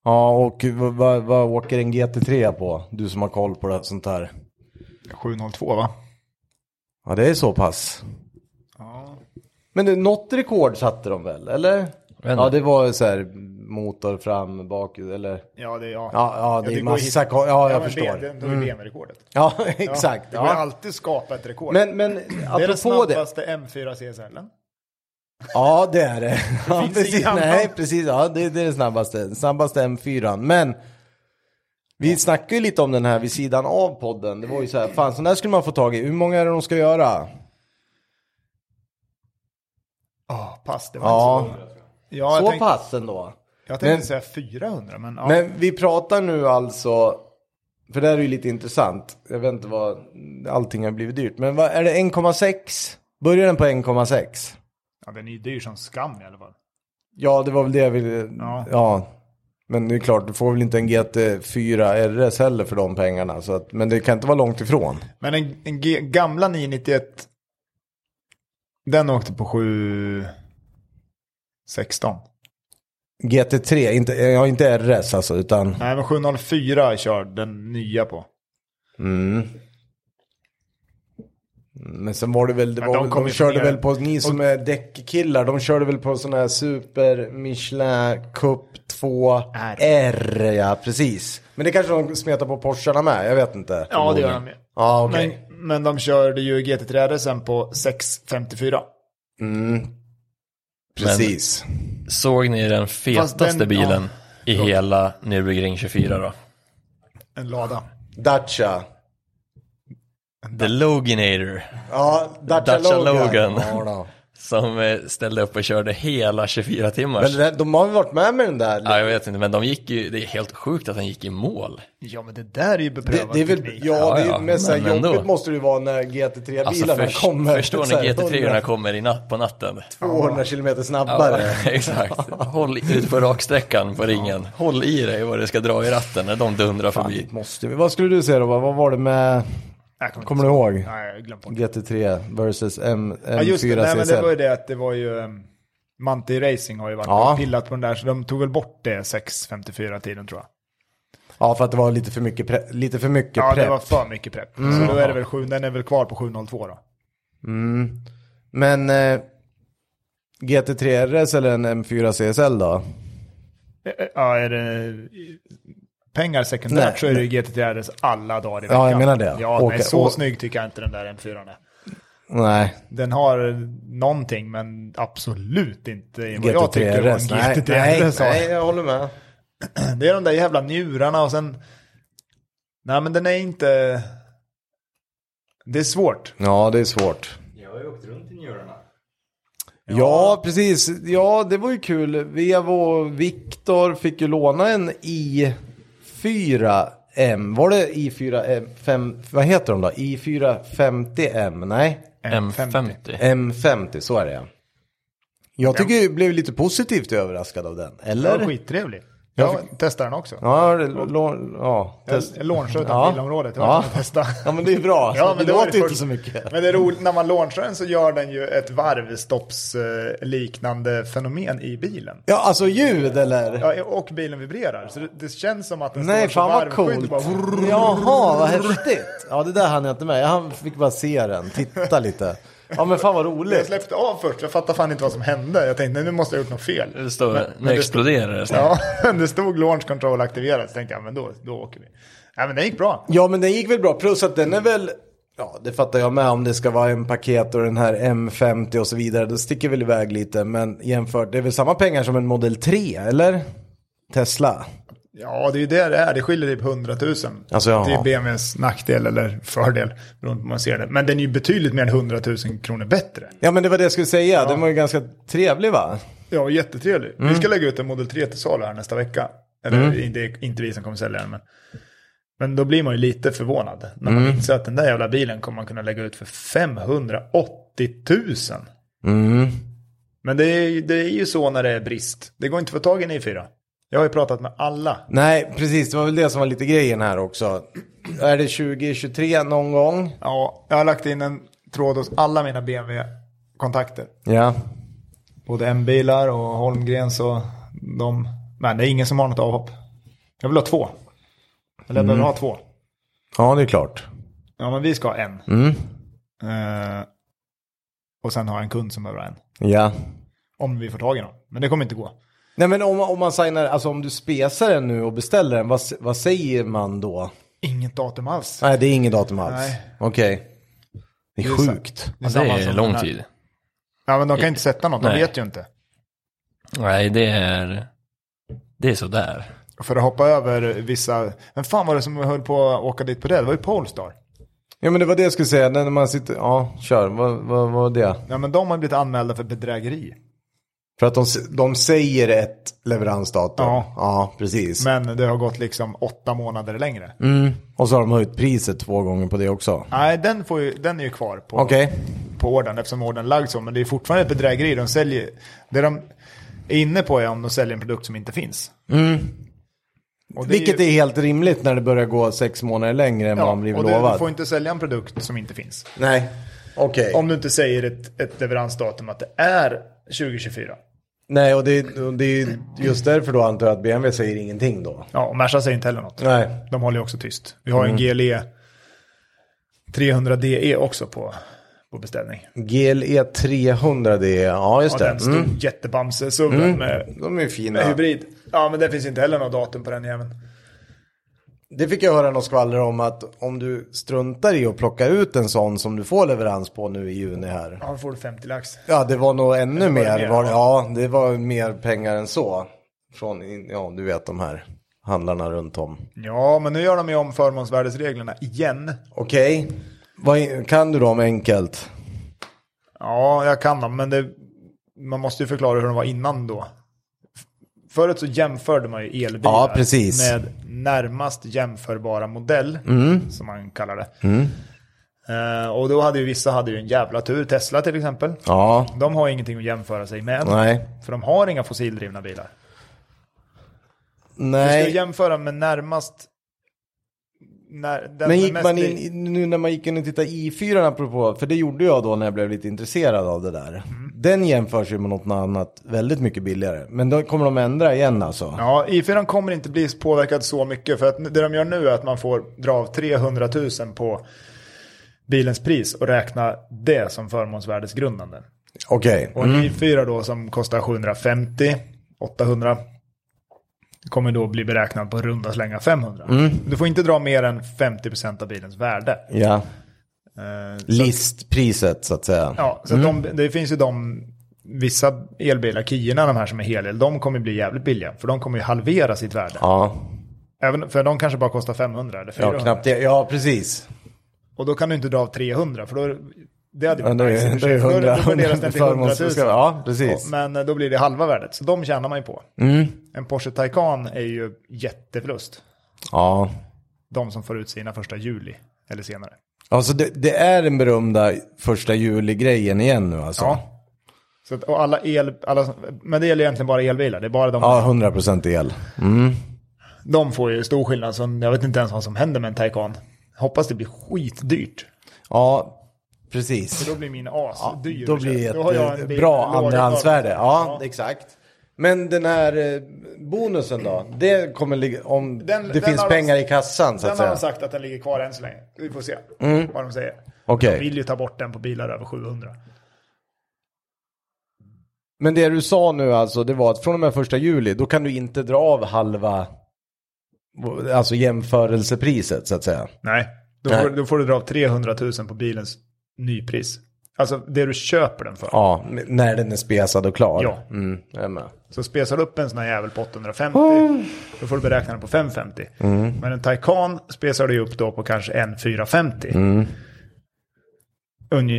A: Ja, och v- vad vad åker en GT3 på? Du som har koll på det, sånt här.
C: 7.02 va?
A: Ja, det är så pass.
C: Ja.
A: Men det, något rekord satte de väl, eller?
B: vet inte.
A: Ja, det var så här motor fram, bak, eller?
C: Ja, det, ja.
A: Ja, ja, det är massa ko- ja, jag
C: men
A: förstår.
C: Det, det, det var ju BMW-rekordet.
A: Ja, exakt.
C: Det går ju
A: Ja.
C: alltid skapa ett rekord.
A: Men, men
C: det är den
A: apropå det.
C: snabbaste M4 CSL-en.
A: Ja, det är det. Ja,
C: finns
A: precis.
C: ingen annan.
A: Nej, precis. Ja, det, det är det snabbaste. Den Snabbaste M4. Men vi snackade ju lite om den här vid sidan av podden. Det var ju så här, fan sån där skulle man få tag i. Hur många är det de ska göra?
C: Ja, pass. Det var
A: Ja,
C: inte så många. Ja, jag
A: så
C: tänkte,
A: pass ändå.
C: Jag tänkte
A: Men-
C: säga 400, men ja.
A: Men vi pratar nu alltså, för det här är ju lite intressant. Jag vet inte vad, allting har blivit dyrt. Men vad, är det 1,6? Börjar den på 1,6?
C: ja, den är ju dyr som skam i alla fall.
A: Ja, det var väl det jag ville. Ja.
C: Ja.
A: Men det är klart, du får väl inte en GT4 RS heller för de pengarna. Så att, men det kan inte vara långt ifrån.
C: Men en, en G, gamla 991, den åkte på 7.16.
A: GT3, inte, ja, inte RS alltså, utan...
C: Nej, men 704 kör den nya på.
A: Mm. Men sen var det väl, det
C: Men
A: var
C: de
A: väl,
C: kom
A: de
C: ju
A: körde
C: ner.
A: väl på, ni som är däckkillar, de körde väl på sån här Super Michelin Cup 2 R.
C: R.
A: ja precis. Men det kanske de smetar på Porscharna med, jag vet inte.
C: Ja, det gör de ju.
A: Ja, okej.
C: men, men de körde ju GT3 sen på 654.
A: Mm. Precis.
B: Såg ni den fetaste
C: den- ja.
B: bilen i hela Nürburgring 24 då?
C: En lada.
A: Dacia.
B: The Loganator.
A: Ja, Dacia,
B: Dacia Logan.
A: Ja, då.
B: Som eh, ställde upp och körde hela 24 timmars.
A: Men det där, de har väl varit med med den där?
B: Ja, jag vet inte, men de gick ju, det är helt sjukt att han gick i mål.
C: Ja, men det där är ju
A: Det,
C: beprövad
A: det är väl,
C: teknik.
A: ja, det är,
B: typ. Ja, ja,
A: men så här,
B: men ändå.
A: jobbigt måste det ju vara när GT3-bilarna
B: Alltså, först,
A: kommer.
B: förstår
A: Så här,
B: ni GT3
A: 100,
B: kommer i natt på natten?
A: 200 kilometer snabbare.
B: Exakt. Håll i- ut på raksträckan på ringen. Håll i dig vad det ska dra i ratten när de dundrar förbi.
A: Måste vi. Vad skulle du säga då? Vad vad var det med,
C: Jag inte
A: kommer du ihåg?
C: Nej, jag har glömt bort.
A: GT3 versus M, M4
C: Ja, just det. Nej, men
A: CSL.
C: det var ju det att det var ju... ehm, Manti Racing har ju varit
A: Ja.
C: och pillat på den där, så de tog väl bort det 6.54-tiden tror jag.
A: Ja, för att det var lite för mycket, pre- lite för mycket
C: Ja,
A: prepp. Mm.
C: det var för mycket prepp. Så då är det väl sju, den är väl kvar på 7.02 då.
A: Mm. Men eh, GT3 RS eller en M4 CSL då?
C: Eh, eh, Ja, är det pengar sekundärt
A: Nej,
C: så är det ju GT3 RS alla dagar i veckan.
A: Ja, jag menar det.
C: Ja,
A: Åka-
C: nej, så
A: å-
C: snygg tycker jag inte den där M4 är.
A: Nej,
C: Den har någonting, men absolut inte i vad jag
A: GT3
C: tycker var en
A: RS. Nej, nej,
C: GT3 RS.
A: nej, jag håller med.
C: Det är de där jävla njurarna och sen... Nej, men den är inte... Det är svårt.
A: Ja, det är svårt.
D: Jag har ju åkt runt i njurarna.
A: Ja. precis. Ja, det var ju kul. Vevo och Viktor fick ju låna en I4M. Var det I4M? Fem, vad heter de då? I450M? Nej,
B: M50.
A: M50. Så är det ja. Jag tycker jag blev lite positivt överraskad av den.
C: Den var
A: Eller?
C: skittrevlig. Jag testade den också.
A: Ja, det, lo, ja,
C: Jag
A: test.
C: launchade utanför
A: Ja.
C: bilområdet. Jag
A: Ja.
C: ja. testa.
A: ja, men det är bra.
C: Ja, men
A: det
C: det var
A: låter
C: det
A: inte
C: först-
A: så mycket.
C: Men det är roligt, när man launchar den så gör den ju ett varvstoppsliknande fenomen i bilen.
A: Ja, alltså ljud eller?
C: Ja, och bilen vibrerar. Så det, det känns som att den
A: Nej,
C: står
A: fan vad
C: varvskydd
A: coolt.
C: och bara-
A: Jaha, vad häftigt. Ja, det där hann jag inte med. Jag fick bara se den, titta lite. Ja, men fan vad
C: Jag
A: roligt.
C: släppte av först, jag fattade fan inte vad som hände. Jag tänkte nu måste jag ha gjort något fel.
B: Det står, nu exploderar det. snart.
C: Ja, men det stod launch control aktiverat. Så tänkte jag, men då, då åker vi. Nej, men det gick bra.
A: Ja, men den gick väl bra. Plus att den är väl, ja, det fattar jag med om det ska vara en paket och den här M50 och så vidare. Det sticker väl iväg lite, men jämfört, det är väl samma pengar som en Model 3, eller? Tesla.
C: Ja, det är ju det det är. Det skiljer typ 100 000.
A: Alltså, ja.
C: Det är BMWs nackdel eller fördel, beroende på hur man ser det. Men den är ju betydligt mer än 100 000 kronor bättre.
A: Ja, men det var det jag skulle säga. Den var ju ganska trevlig, va?
C: Ja, jättetrevlig. Vi ska lägga ut en Model 3 till salu här nästa vecka. Eller det är inte vi som kommer sälja den, men. Men då blir man ju lite förvånad. När man inser att den där jävla bilen kommer man kunna lägga ut för 580 000.
A: Mm.
C: Men det är, ju- det är ju så när det är brist. Det går inte att få tag i en i4. Jag har ju pratat med alla.
A: Nej, precis. Det var väl det som var lite grejen här också. Är det 2023 någon gång?
C: Ja, jag har lagt in en tråd hos alla mina BMW-kontakter.
A: Ja.
C: Både M-bilar och Holmgrens och de. Men det är ingen som har något avhopp. Jag vill ha två. Eller jag
B: Mm.
C: behöver ha två.
A: Ja, det är klart.
C: Ja, men vi ska ha en.
A: Mm.
C: Eh, och sen har en kund som behöver en.
A: Ja.
C: Om vi får tag i någon. Men det kommer inte gå.
A: Nej men om, om man signar, alltså om du spesar den nu och beställer den, vad, s- vad säger man då?
C: Inget datum alls.
A: Nej det är inget datum alls.
C: Nej.
A: Okej. Det
C: Det
A: är
C: är sant.
A: sjukt.
B: Ja, det
C: samma
B: är
C: som
B: lång
C: den här.
B: tid. Eh,
C: Ja, men de kan inte sätta något. De
B: Nej.
C: vet ju inte.
B: Nej, det är, det är sådär.
C: För att hoppa över vissa... Men fan var det som höll på att åka dit på det? Det var ju Polestar.
A: Ja men det var det jag skulle säga, när man sitter, ja kör, vad vad- vad var det?
C: Ja, men de har blivit anmälda för bedrägeri.
A: För att de, s- de säger ett leveransdatum.
C: Ja.
A: ja precis.
C: Men det har gått liksom åtta månader längre.
A: Mm. Och så har de höjt priset två gånger på det också.
C: Nej, den, får ju, den är ju kvar på,
A: Okej.
C: på ordern eftersom ordern är lagd så. Men det är fortfarande ett bedrägeri. De säljer... Det de är inne på är om de säljer en produkt som inte finns. Och det är ju-
A: Mm. Vilket är helt rimligt när det börjar gå sex månader längre än vad man blivit
C: och du,
A: lovad.
C: du får inte sälja en produkt som inte finns.
A: Nej. Okej.
C: Om du inte säger ett, ett leveransdatum att det är 2024.
A: Nej och det, och det är ju just därför då antar jag att BMW säger ingenting då.
C: Ja, och Merca säger inte heller något.
A: Nej.
C: De håller ju också tyst. Vi har ju
A: Mm.
C: en E GLE 300 DE E också på, på beställning.
A: GLE 300 E det är, ja just
C: Ja,
A: det.
C: den stod
A: Mm.
C: jättebamse subben med,
A: De är ju fina.
C: med hybrid. Ja, men det finns inte heller något datum på den jäveln.
A: Det fick jag höra något skvaller om att om du struntar i att plocka ut en sån som du får leverans på nu i juni här.
C: Ja, då får du 50 lax.
A: Ja det var nog ännu
C: var det
A: mer.
C: mer,
A: var,
C: va?
A: ja det var mer pengar än så. Från, in- ja du vet de här. handlarna runt om.
C: Ja, men nu gör de ju om förmånsvärdesreglerna igen.
A: Okej, Vad i- kan du dem enkelt?
C: Ja, jag kan dem, men det, man måste ju förklara hur de var innan då. F- Förut så jämförde man ju elbilar
A: Ja, precis. Mm.
C: med närmast jämförbara modell, som man kallar det. Eh, och då hade ju vissa hade ju en jävla tur, Tesla till exempel.
A: Ja,
C: De har ingenting att jämföra sig med,
A: nej.
C: för de har inga fossildrivna bilar. Du ska ju
A: Nej,
C: jämföra med närmast... När, den
A: men
C: med
A: gick
C: mest
A: man
C: bil-
A: in, i- nu när man gick in och tittade i 4 apropå, för det gjorde jag då när jag blev lite intresserad av det där. Den jämförs ju med något annat väldigt mycket billigare. Men då kommer de ändra igen alltså.
C: Ja, i4 kommer inte bli påverkad så mycket för att det de gör nu är att man får dra av 300 000 på bilens pris och räkna det som förmånsvärdesgrundande.
A: Okej,
C: Och en i4 då som kostar 750, 800 kommer då bli beräknad på runda slänga 500. Du får inte dra mer än 50% av bilens värde.
A: ja.
C: Eh, så-
A: Listpriset så att säga.
C: Ja, så att de, det finns ju de, vissa elbilar, Kiorna, de här som är helel, de kommer bli jävligt billiga. För de kommer ju halvera sitt värde.
A: Ja,
C: Även, för de kanske bara kostar 500 eller
A: ja
C: 400.
A: knappt det. Ja, precis.
C: Och då kan du inte dra av 300 för då... Det hade
A: Ja,
C: varit
A: det
C: nice i
A: är
C: och
A: det är
C: för sig. Då- då
A: 100,
C: värderas
A: 100
C: den till 100 000.
A: förmånsbeskattning. Ja, precis. Mm.
C: Men eh, då blir det halva värdet. Så de tjänar man ju på. En Porsche Taycan är ju jätteförlust.
A: Ja.
C: De som får ut sina första juli eller senare.
A: Alltså det, det är den berömda första juli-grejen igen nu alltså. Ja,
C: Ja. Så att, och alla el, alla, men det gäller egentligen bara elbilar. Det är bara de
A: 100% el.
C: De får ju stor skillnad, så jag vet inte ens vad som händer med en Taycan. Hoppas det blir skitdyrt.
A: Ja, precis.
C: Då blir min asdyr.
A: Då blir
C: köpt. Då har jag
A: det
C: en
A: ett
C: bil
A: eh, bra
C: med låga
A: andrahandsvärde.
C: normer.
A: Ja, exakt. Men den här eh, bonusen då? Det kommer ligga om
C: Den-
A: det
C: den
A: finns
C: har de-
A: pengar i kassan så
C: Sen
A: att
C: har
A: säga. Mm.
C: de sagt att den ligger kvar än så länge. Vi får se vad de säger.
A: Okej.
C: De vill ju ta bort den på bilar över 700.
A: Men det du sa nu alltså, det var att från och med första juli, då kan du inte dra av halva alltså jämförelsepriset så att säga.
C: Nej, då,
A: Nej.
C: Får, då får du dra av 300 000 på bilens nypris. Alltså det du köper den för.
A: Ja, m- när den är spesad och klar.
C: Ja.
A: Mm, jag är med.
C: Så spesar du upp en sån här jävel på 850,
A: Oh.
C: då får du beräkna den på 550.
A: Mm.
C: Men en Taycan spesar du ju upp då på kanske en 450. Mm.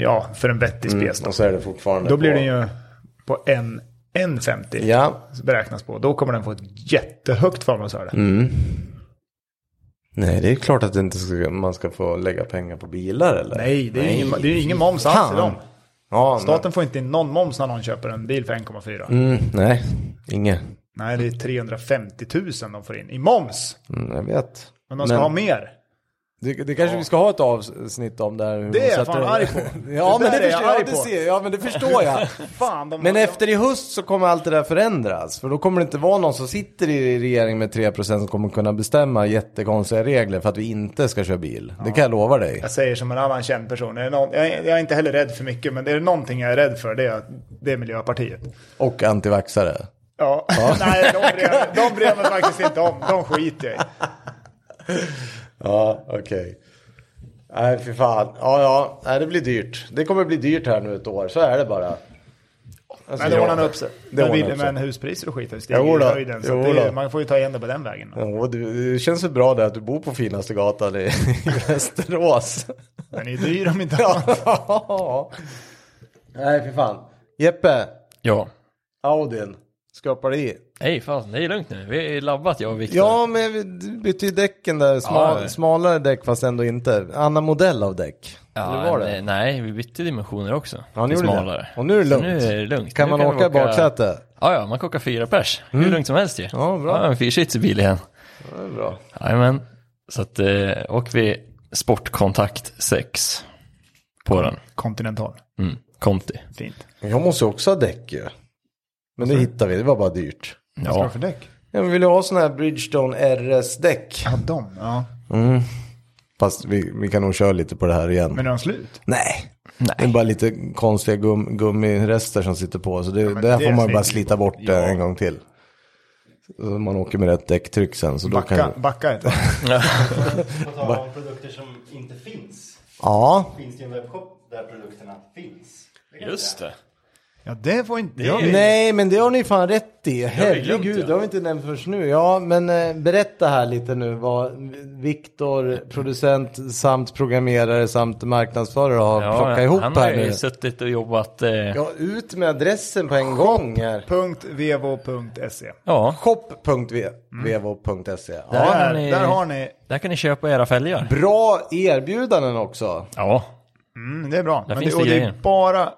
C: ja, för en vettig spes då.
A: Och så är det fortfarande
C: Då blir
A: på-
C: den ju på en 150
A: Ja,
C: beräknas på. Då kommer den få ett jättehögt förmånsvärde.
A: nej det är klart att det inte ska, man ska få lägga pengar på bilar eller?
C: Nej, det är ju ingen, det är ju ingen moms alls i dem.
A: Ja, men-
C: Staten får inte in någon moms när någon köper en bil för 1,4.
A: Mm, nej, inget.
C: Nej, det är 350 000 de får in i moms.
A: Mm, jag vet.
C: Men de ska ha mer.
A: Det, det kanske vi ska ha ett avsnitt om där. hur
C: Det
A: man
C: är jag
A: sätter-
C: fan arg på.
A: ja,
C: Det
A: men det
C: där är jag
A: förstår, ja,
C: arg
A: det
C: på.
A: ser, ja, men det förstår jag.
C: Fan, de,
A: Men
C: de-
A: efter i höst så kommer allt det där förändras. För då kommer det inte vara någon som sitter i regeringen med 3% som kommer kunna bestämma jättekonstiga regler för att vi inte ska köra bil. Det kan jag lova dig.
C: Jag säger som en annan känd person. Är det någon, jag, är, jag är inte heller rädd för mycket, men är det någonting jag är rädd för, det är, det är Miljöpartiet.
A: Och antivaxare.
C: Ja, nej, de bryr, jag mig- de bryr jag mig faktiskt inte om. De skiter jag i.
A: Alltså, Ja, okej. Nej, för fan. Ja, ja. Nej, det blir dyrt. Det kommer bli dyrt här nu ett år. Så är det bara. Alltså,
C: Men det
A: ja.
C: ordnar nog upp sig.
A: Det
C: Men,
A: ordnar
C: vill-
A: upp sig.
C: men huspriser och skit har ju stigit
A: Jo
C: i
A: då,
C: höjden. Så
A: jo
C: att det, är-
A: då.
C: man får ju ta igen det på den vägen. Då.
A: Ja, det, det känns väl bra det att du bor på finaste gatan i Västerås.
C: Den är ju dyr om inte annat.
A: ja. Nej, för fan. Jeppe,
B: Ja.
A: Audin, skrapar i.
B: Nej, fan, det är lugnt nu. Vi är labbat jag och Viktor.
A: Ja, men vi- du bytte ju däcken där. Smal,
B: Ja.
A: Smalare däck fast ändå inte. Annan modell av däck.
B: Ja,
A: Eller var det?
B: nej, Nej, vi bytte dimensioner också.
A: Ja, ni
B: Till
A: gjorde det.
B: smalare.
A: Och nu är det
B: Så
A: lugnt.
B: Nu är det lugnt.
A: Kan
B: Nu
A: man åka i baksäte?
B: Ja, ja, man kan åka fyra pers. Hur lugnt som helst ju.
A: Ja, bra.
B: Ja, en fyrsitsbil igen.
A: Det är bra.
B: Jajamän. Så att, eh, och vi sportkontakt 6 på den.
C: Continental.
B: Mm, Conti.
C: Fint.
A: Jag måste också ha däck ju. Men det hittade vi, det var bara dyrt.
C: Vad ska du
B: Ja,
C: för däck?
A: Ja, men vi ville ha sådana här Bridgestone RS-däck.
C: Ja, de. Ja.
A: Fast vi, vi kan nog köra lite på det här igen.
C: Men är de slut?
A: Nej. Det är bara lite konstiga gum, gummirester som sitter på. Så det, det här
C: det
A: får man ju
C: sliter
A: bara
C: vi
A: slita bort
C: bort. Ja.
A: eh, en gång till. Så man åker med rätt däcktryck sen. Så då
C: Backa,
A: kan...
C: backa heter det.
D: På tal om produkter som inte finns.
A: Ja,
D: Finns det en webbshop där produkterna finns? Det kan jag
B: just
D: säga.
B: det.
C: Ja, det får inte...
B: Det
C: jag
B: är-
C: vet.
A: Nej, men det har ni fan rätt i.
B: har jag glömt,
A: Herregud,
B: ja.
A: det har vi inte nämnt först nu. Ja, men eh, berätta här lite nu vad Viktor, producent samt programmerare samt marknadsförare har plockat ihop
B: han har
A: här
B: ju
A: nu.
B: suttit och jobbat. Eh, ja.
A: Ja, ut med adressen på en gång här.
C: Punkt vevo.se.
B: Mm.
A: Shop.vevo.se. Ja,
B: Där har
C: Där,
B: ni-
C: där har ni...
B: Där kan ni köpa era fälgar.
A: Mm. bra erbjudanden också.
B: Ja,
C: Mm, det är bra. Men
B: finns
C: det,
B: det
C: och det är
B: grejer.
C: bara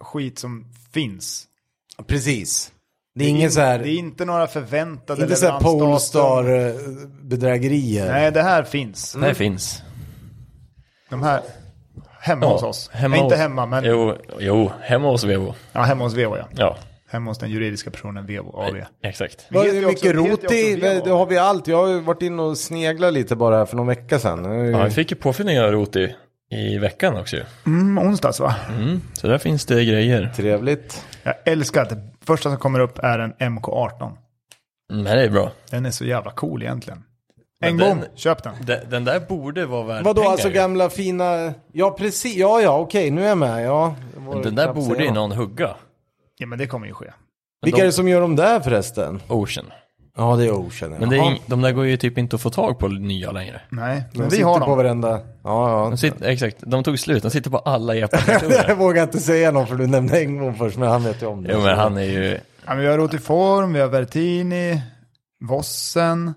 C: skit som finns.
A: Precis. Det är inget så
C: Det är
A: här,
C: inte några förväntade
A: inte så här
C: leveransdatum.
A: Polestar-bedrägerier.
C: Nej, det här finns.
B: det finns.
C: De här hemma hos oss.
B: Hemma
C: inte
B: hos-
C: hemma, men
B: Jo, jo hemma hos Vevo.
C: ja, hemma hos Vevo ja.
B: Ja,
C: Hemma hos den juridiska personen Vevo AB.
B: exakt.
A: Vad
C: heter ju
A: är
C: också-
A: mycket
C: det heter
A: rot
C: ju
A: i,
C: också Vevo.
A: det har vi allt. Jag har ju varit inne och sneglat lite bara här för någon vecka sedan.
B: Ja, vi fick ju påfyllning av rot i, i veckan också ju.
C: Mm, onsdags va?
B: Mm. Så där finns det grejer.
A: Trevligt.
C: Jag älskar att det första som kommer upp är en MK18.
B: Mm, men det är bra.
C: Den är så jävla cool egentligen. En
B: den-
C: gång, köp den.
B: Den, den där borde vara värd
A: Vadå,
B: pengar.
A: alltså
B: ju.
A: gamla fina... Ja, precis. Ja, ja, okej, nu är jag med. Ja. Det var
B: Den där
A: knappt
B: borde
A: säga.
B: ju någon hugga.
C: Ja men det kommer ju ske.
A: Vilka är det som gör de där förresten?
B: Ocean.
A: Ja, det är Ocean.
B: Men det är, ing- de där går ju typ inte att få tag på nya längre.
C: Nej, men
A: de
C: vi
A: sitter
C: har
A: på
C: dem.
A: varenda... Ja, ja.
B: De sitter, exakt, de tog slut. De sitter på alla epa
A: Jag vågar inte säga någon för du nämnde Engblom först, men han vet ju om det.
B: Jo men han är ju,
C: Ja, men vi har Rotiform, vi har Vertini, Vossen,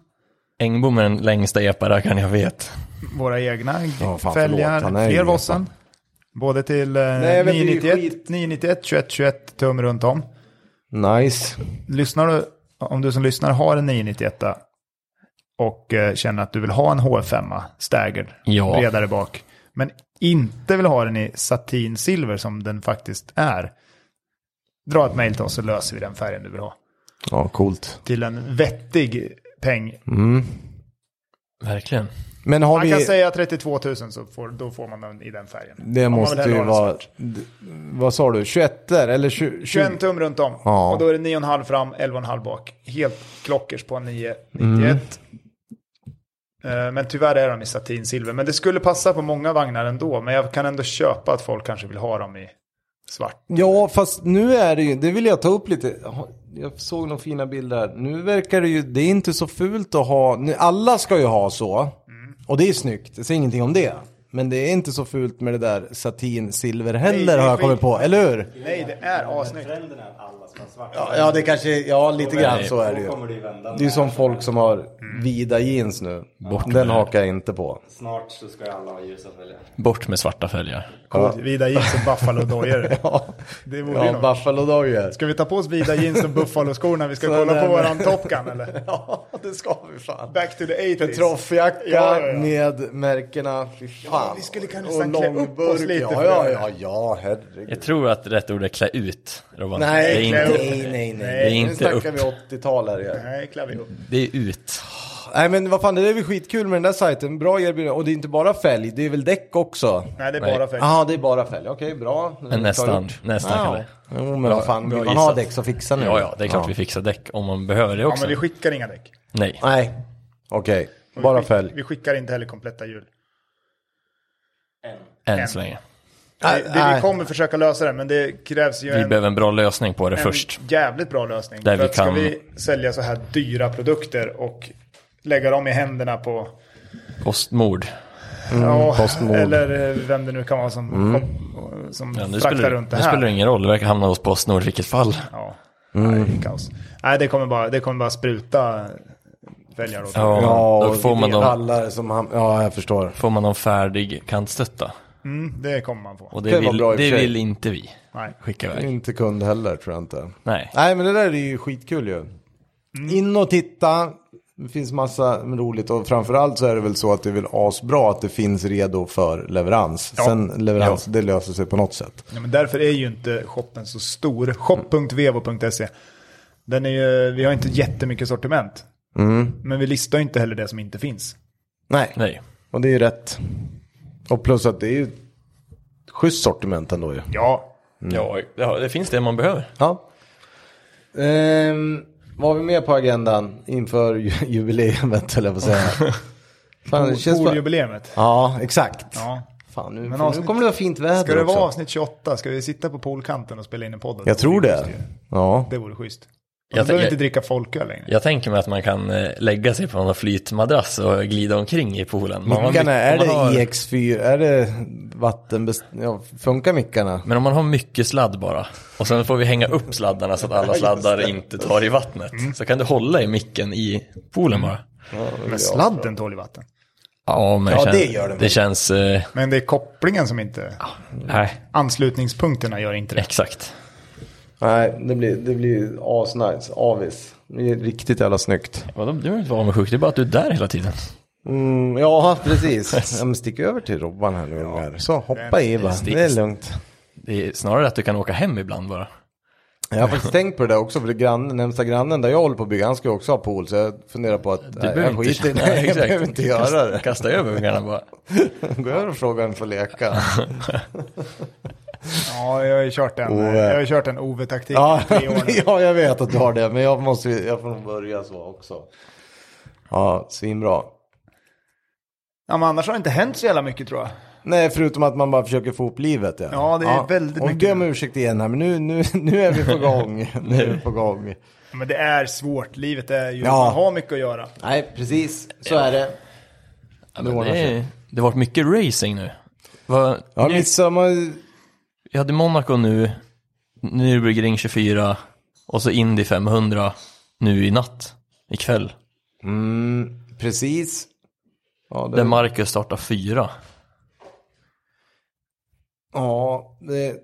B: Engblom är den längsta epa-rackaren jag vet.
C: våra egna
A: Ja, fan,
C: fälgar,
A: förlåt, han är ju
C: fler
A: epa.
C: Vossen. Både till eh,
A: Nej, jag vet, det är ju
C: 991,
A: skit.
C: 991, 21, 21 tum runt om.
A: Nice.
C: Lyssnar du, om du som lyssnar har en 991 och eh, känner att du vill ha en H5 staggered,
B: Ja.
C: bredare bak, men inte vill ha den i satin silver som den faktiskt är, dra ett mejl till oss så löser vi den färgen du vill ha.
A: Ja, coolt.
C: Till en vettig peng.
B: Verkligen.
A: Men har
C: Man kan
A: vi... Mm.
C: säga 32 000 så får, då får man den i den färgen. Om
A: Det
C: man
A: måste
C: vill hellre
A: ju
C: ha den
A: vara...
C: svart.
A: d- Vad sa du? 21 eller 20?
C: 21 tum runt om.
A: Ja.
C: Och då är det 9,5 fram, 11,5 bak. Helt klockers på 991.
A: Mm.
C: Eh, Men tyvärr är de i satinsilver. Men det skulle passa på många vagnar ändå. Men jag kan ändå köpa att folk kanske vill ha dem i svart.
A: Ja, fast nu är det ju, det vill jag ta upp lite. Jag såg några fina bilder här. Nu verkar det ju, det är inte så fult att ha, nu, alla ska ju ha så. Och det är snyggt, jag säger ingenting om det. Men det är inte så fult med det där satin silver
C: Nej, det
A: heller
C: är
A: har jag
C: skit.
A: kommit på, eller hur?
C: Nej, det är assnyggt.
D: Trenden är att alla ska ha svart.
A: Ja, det kanske, ja lite grann så är det ju. Mm.
D: Då kommer det ju vända.
A: Det är ju
D: med.
A: som folk som har vida jeans nu.
B: Bort med
A: Den
B: det.
A: hakar jag inte på.
D: Snart så ska ju alla ha ljusa fälgar.
B: Bort med svarta fälgar.
C: Coolt. Vida jeans och buffalo-dojor.
A: Ja,
C: Det vore ju
A: ja
C: något.
A: Buffalo Dogger.
C: Ska vi ta på oss vida jeans och buffalo-skor när vi ska
A: Så
C: kolla på
A: den-
C: våran Top Gun eller?
A: Ja, det ska vi fan.
C: Back to the 80s.
A: Troffjacka
C: Ja, ja, ja.
A: med märkena. Fy fan.
C: Ja, vi skulle kunna nästan klä upp oss
A: långburk.
C: lite
A: Ja,
C: för
A: ja,
C: det.
A: ja, ja, herregud.
B: Jag tror att rätt ord är klä ut, Robban. det,
A: Nej,
B: är
A: nej,
B: inte,
A: nej, nej,
C: Det
B: är
A: Nu
B: inte
A: snackar
B: upp.
A: vi 80-tal här igen.
C: Nej, klär vi upp.
B: det är ut.
A: Nej, men vad fan, det är väl skitkul med den där sajten. Bra erbjudande. Och det är inte bara fälg, det är väl däck också?
C: Nej, det är
B: Nej.
C: bara färg.
A: Ja, det är bara fälg. Okej, bra.
B: Men nästan, nästan kan
A: Ja.
B: det.
A: Jo, men
B: Bra-
A: vad fan,
B: bra
A: vill man ha
B: gissat.
A: däck så fixar ni
B: Ja, ja, det är klart vi fixar däck om man behöver det
C: Ja,
B: också.
C: men vi skickar inga däck.
B: Nej,
A: Nej, okej. Bara fälg.
C: Vi skickar inte heller kompletta hjul.
D: En.
B: än så länge.
A: Nej,
C: Det, det, vi
A: nej.
C: kommer försöka lösa det, men det krävs ju
B: Vi
C: en,
B: behöver en bra lösning på det
C: en
B: först.
C: jävligt bra lösning.
B: Där
C: för
B: vi
C: att
B: kan-
C: Ska vi sälja så här dyra produkter och lägga dem i händerna på,
B: Postmord. Mm,
C: ja,
A: Postnord.
C: eller eh, vem det nu kan vara som, som
B: Ja, nu
C: fraktar
B: spelar,
C: runt det
B: nu
C: här.
B: spelar det ingen roll, det verkar hamna hos Postnord i vilket fall.
C: Ja,
B: Mm.
C: nej, det är kaos. Nej, det kommer bara, det kommer bara spruta väljare åt
B: Ja,
A: Ja,
B: då får man, dem,
A: Pallar som han... Ja, jag förstår.
B: får man dem färdig kantstötta.
C: mm, Det kommer man få.
B: Och det,
A: Det var
B: vill,
A: bra i och
B: det
A: för sig.
B: vill inte vi
C: Nej.
B: skicka iväg.
A: Inte kund heller, tror jag inte.
B: Nej.
A: Nej, men det där är ju skitkul ju. In och titta. Det finns massa roligt och framförallt så är det väl så att det är väl asbra att det finns redo för leverans. Sen leverans, det löser sig på något sätt.
C: Ja, men därför är ju inte shoppen så stor. Shop.vevo.se. Den är ju, vi har inte jättemycket sortiment.
A: Mm.
C: Men vi listar ju inte heller det som inte finns.
A: Nej.
B: Nej.
A: och det är ju rätt. Och plus att det är ju ett schysst sortiment ändå ju.
C: Ja,
A: Mm.
B: Ja, ja, det finns det man behöver.
A: Ja. Ehm, vad har vi mer på agendan inför ju- jubileet, höll jag på att säga. Fan, det känns bara...
C: pooljubileumet.
A: Ja, exakt.
C: Ja.
A: Fan, nu,
C: Men
A: nu
C: avsnitt-
A: kommer det vara fint väder
C: Ska det
A: också.
C: vara avsnitt 28? Ska vi sitta på poolkanten och spela in en podd?
A: Jag tror
C: vore schysst
A: det.
C: ju.
A: Ja.
C: Det vore schysst. Jag
B: Jag
C: behöver
B: tänker-
C: inte dricka folköl längre.
B: Jag tänker mig att man kan eh, lägga sig på någon flytmadrass och glida omkring i poolen. Men om man-
A: Mickarna, är
B: om man
A: det e-
B: har-
A: EX4? Är det vatten... Ja, funkar mickarna?
B: Men om man har mycket sladd bara, och sen får vi hänga upp sladdarna så att alla sladdar inte tar i vattnet. Så kan du hålla i micken i poolen bara.
C: Men sladden tål ju vatten.
B: Ja, men
A: Ja,
B: känns,
A: det gör det väl.
B: Det känns, eh,
C: Men det är kopplingen som inte...
B: nej,
C: Anslutningspunkterna gör inte det.
B: exakt.
A: Nej, det blir, det blir asnice. Avis. Det är riktigt jävla snyggt.
B: Vadå, du behöver inte vara avundsjuk, det är bara att du är där hela tiden.
A: Mm, ja, precis. Ja, men stick över till Robban här nu ungar. Så, hoppa i va.
B: stick.
A: Det är lugnt.
B: Det är snarare att du kan åka hem ibland bara.
A: Jag har faktiskt tänkt på det där också, för det grann, närmsta grannen där jag håller på att bygga, han ska ju också ha pool, så jag funderar på att
B: Du
A: nej, jag skiter i det.
B: Nej,
A: jag
B: exakt.
A: behöver inte göra det.
B: Kasta, kasta över ungarna bara.
A: Gå över och fråga om jag får leka.
C: Ja, jag har ju kört en,
A: Ove.
C: jag har ju kört en Ove-taktik
A: Ja,
C: i tre år nu.
A: ja, jag vet att du har det, men jag, måste, ju- jag får nog börja så också. Ja, svinbra.
C: Ja, men annars har det inte hänt så jävla mycket tror jag.
A: Nej, förutom att man bara försöker få upp livet. Ja,
C: Ja, det är väldigt
A: och
C: mycket-
A: mycket. Och om ursäkt igen här, men nu, nu, nu är vi på gång. nu är vi på gång.
C: Men det är svårt, livet är ju...
A: Ja.
C: Man har mycket att göra.
A: Nej, precis, så är det.
B: Ja, men
A: ordnar
B: det, är, det har varit mycket racing nu. Vad-
A: Ja,
B: ni-
A: midsommar...
B: Vi hade Monaco nu, Nürburgring 24 och så Indy 500 nu i natt, ikväll.
A: Mm, precis. Ja, det-
B: Där Marcus startar fyra.
A: Ja, det,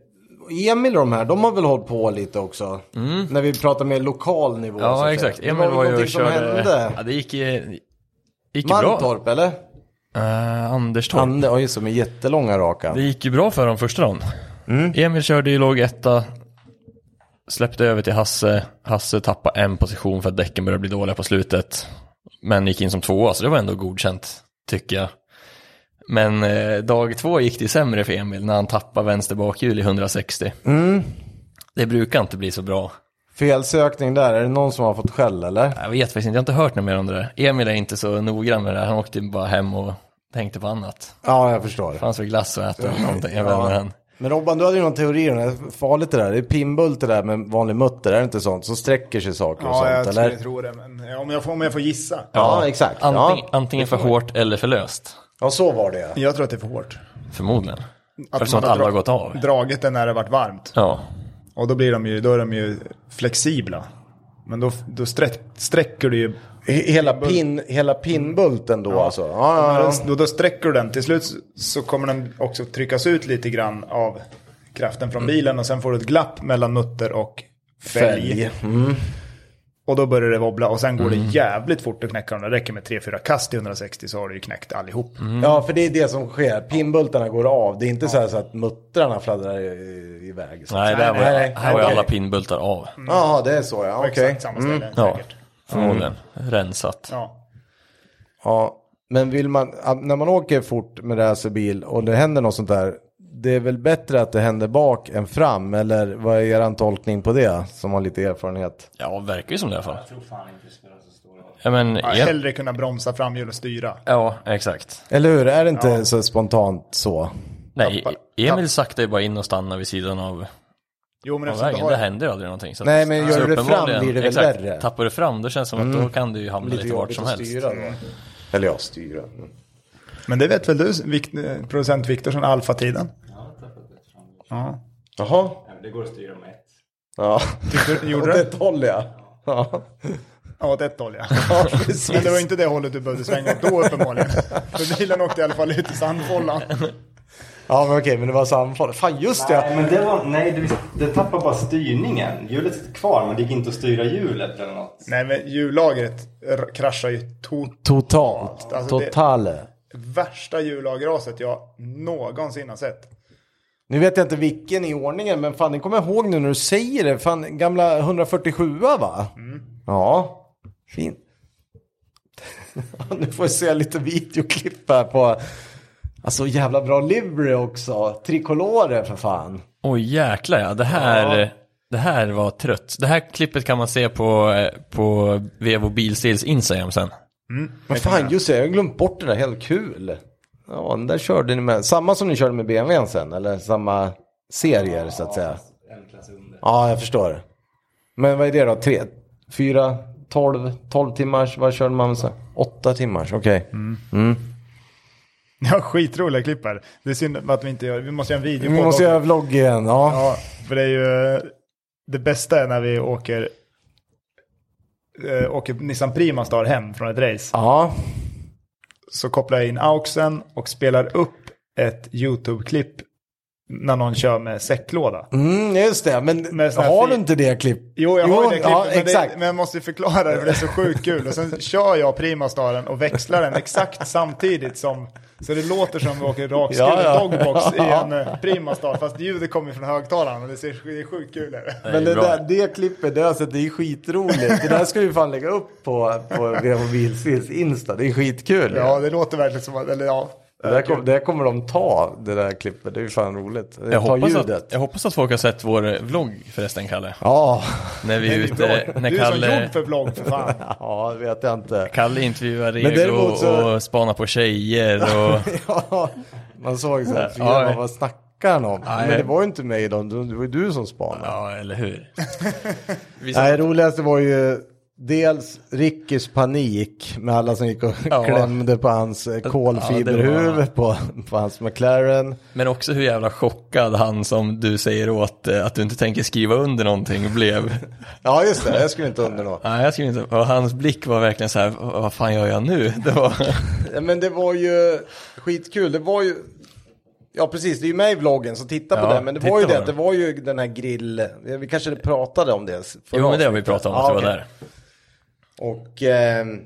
A: Emil och de här, de har väl hållit på lite också? När vi pratar mer lokal nivå. så att
B: Mm. Ja,
A: säga.
B: exakt.
A: Det var
B: Emil var
A: väl
B: ju
A: någonting
B: och
A: som
B: körde... Ja,
A: hände.
B: det gick, eh, gick ju bra.
A: Mantorp, eller?
B: Eh, Anders Torp.
A: Han, ja, just det, med jättelånga raka.
B: Det gick ju bra för dem första dagen. Emil körde ju låg etta, släppte över till Hasse. Hasse tappade en position för att däcken började bli dåliga på slutet. Men gick in som tvåa, så det var ändå godkänt, tycker jag. Men eh, dag två gick det ju sämre för Emil när han tappade vänster bakhjul i 160. Det brukar inte bli så bra.
A: Felsökning där, är det någon som har fått skäll eller?
B: Jag vet faktiskt inte, jag har inte hört något mer om det där. Emil är inte så noggrann med det där, han åkte bara hem och tänkte på annat.
A: Ja, jag förstår.
B: Fanns väl glass att äta eller någonting, jag vet inte.
A: Ja.
B: men han-
A: Men Robban, du hade ju någon teori om det här. farligt det där. Det är pinnbult det där med vanlig mutter, är det inte sånt? Så sträcker sig saker och
C: Ja, jag
A: sånt, eller?
C: skulle tro det. Men ja, om, jag får, om jag får gissa.
A: Ja, exakt.
B: Anting,
A: ja.
B: antingen för hårt eller för löst.
A: ja, så var det ja.
C: Jag tror att det är för hårt.
B: Förmodligen.
C: Att
B: Eftersom
C: man
B: att alla har
C: dra-
B: gått av.
C: Dragit den när det varit varmt.
B: Ja.
C: Och då blir de ju, då är de ju flexibla. Men då, då sträck, sträcker du ju...
A: He- Hela, pin, hela pinnbulten då alltså? Ja, ja, ja.
C: Då, då sträcker du den. Till slut så kommer den också tryckas ut lite grann av kraften från
A: Mm.
C: bilen. Och sen får du ett glapp mellan mutter och fälg.
A: Fälg. mm.
C: Och då börjar det wobbla. Och sen går det jävligt fort att knäcka dem. Det räcker med 3-4 kast i 160 så har du ju knäckt allihop.
B: Mm.
A: Ja, för det är det som sker. Pinnbultarna går av. Det är inte så, här så att muttrarna fladdrar i- iväg. Så.
B: Nej, där var,
A: nej, nej. Mm,
B: här var ju
A: Okej.
B: alla pinnbultar av.
A: Jaha, det är så ja. Okej. Mm.
C: Exakt samma ställe
B: Ja,
C: säkert.
B: förmodligen. Rensat.
C: Ja.
A: Ja, men vill man, när man åker fort med racerbil och det händer något sånt där. Det är väl bättre att det händer bak än fram? Eller vad är er tolkning på det? Som har lite erfarenhet.
B: Ja, verkar ju som det i alla fall.
D: Jag tror fan inte det spelar så stor roll.
B: Ja, men,
C: Ja,
B: ja,
C: Hellre kunna bromsa framhjul och styra.
B: ja exakt.
A: Eller hur? Är det inte så spontant så?
B: Nej, E- Emil sakta ju bara in och stanna vid sidan av,
C: Jo, men
B: av
C: eftersom du
B: vägen. Det
C: har...
B: händer ju aldrig någonting. Så
A: Nej, men
B: så
A: gör du det fram
B: uppenbarligen-
A: blir det väl
B: exakt,
A: värre.
B: Tappar du fram, då känns det som att då kan du ju hamna lite, vart
A: jobbigt
B: som
A: att
B: helst.
A: styra då. Mm. Eller ja, styra. Mm.
C: Men det vet väl du, Vic- eh, producent Viktorsson, alfatiden?
D: Jag har tappat det fram.
C: Ja.
A: Jaha.
D: Nej, men Det går att styra med ett.
A: Ja.
C: Tyckte du, gjorde
A: Åt
C: det?
A: ett håll ja. Ja,
C: Ja, åt ett håll ja.
A: ja precis.
C: Men det var inte det hållet du behövde svänga åt då uppenbarligen. För bilen åkte i alla fall ut i sandfållan.
A: Ja men okej, men det var samfall. Fan just det!
D: Nej, men det var, nej du, det tappar bara styrningen. Hjulet sitter kvar, men det gick inte att styra hjulet eller något.
C: Nej, men hjullagret r- kraschar ju tot...
A: Totalt.
C: Alltså, det-
A: Totale.
C: Värsta hjullagraset jag någonsin har sett.
A: Nu vet jag inte vilken i ordningen, men fan det kommer jag ihåg nu när du säger det. Fan, gamla 147 va? Ja, fin. nu får jag se lite videoklipp här på... Alltså jävla bra livery också. Tricolore för fan.
B: Oj jäklar ja, det här, det här var trött. Det här klippet kan man se på, eh, på Vevo Bilstils Instagram sen.
A: Men fan just det, jag har glömt bort det där, helt kul. Ja, den där körde ni med. Samma som ni körde med BMWn sen, eller samma serier så att säga.
D: En klass under.
A: Ja, jag förstår. Men vad är det då? Tre, fyra, tolv, tolv timmars? Vad körde man med så? Åtta timmars, okej.
C: Ja, skitroliga klipp här. Det är synd att vi inte gör, vi måste göra en video på
A: Vi
C: det
A: måste
C: också.
A: göra vlogg igen, ja.
C: Ja, för det är ju, eh, det bästa är när vi åker, eh, åker Nissan Primastar hem från ett race.
A: Ja,
C: Så kopplar jag in auxen och spelar upp ett YouTube-klipp när någon kör med säcklåda.
A: mm, just det. Men
C: Med sån här
A: har
C: fi-
A: du inte det klipp?
C: Jo, jag har ju det klippet,
A: ja,
C: men,
A: exakt.
C: det, men jag måste ju förklara det, för det är så sjukt kul. Och sen kör jag Primastaren och växlar den exakt samtidigt som... Så det låter som vi åker rakskudd
A: Ja, ja.
C: dogbox i en eh, Primastar, fast ljudet kommer från högtalaren och det ser det är sjukt kul. Är det.
A: Men det,
B: bra.
A: där, det klippet, det, är alltså, det är skitroligt. Det där ska vi fan lägga upp på, på VH Bilsvils Insta. Det är skitkul.
C: Ja, det låter verkligen som att... Eller ja.
A: Det,
B: Eh,
A: där kom, det där kommer de ta, det där klippet. Det är ju fan roligt.
B: Jag
A: ta
B: hoppas,
A: ljudet.
B: att, jag hoppas att folk har sett vår eh, vlogg förresten, Kalle.
A: Ja,
B: När vi är ute, eh, när
C: Du är så
B: Kalle,
C: gjord för vlogg för fan.
A: ja, det vet jag inte.
B: Kalle intervjuar
A: Men
B: Rego
A: däremot så-
B: och spanar på tjejer och...
A: Ja, man såg så här, fyra,
B: Ja, ja.
A: man, vad snackar han om?
B: Nej.
A: Men det var ju inte mig då, det var ju du som spanade.
B: Ja, eller hur? Vi
A: Nej, roligaste var ju dels Rickys panik med alla som gick och
B: Ja.
A: klämde på hans eh, kolfiberhuvud på, på hans McLaren.
B: Men också hur jävla chockad han som du säger åt eh, att du inte tänker skriva under någonting blev.
A: Ja, just det, jag skulle inte undra något.
B: Nej, jag skriver inte. Och hans blick var verkligen så här, "Vad- vad fan gör jag nu? Det var...
A: Ja, men det var ju skitkul. Det var ju... Ja precis, det är ju med i vloggen så titta på
B: Ja,
A: den. Men det
B: titta
A: var ju
B: på
A: det,
B: den.
A: att det var ju den här grill... Vi kanske pratade om det. förra
B: Jo, men det har vi
A: avsnittet.
B: pratat om, att
A: Ja,
B: det var
A: okej.
B: där.
A: Och ehm,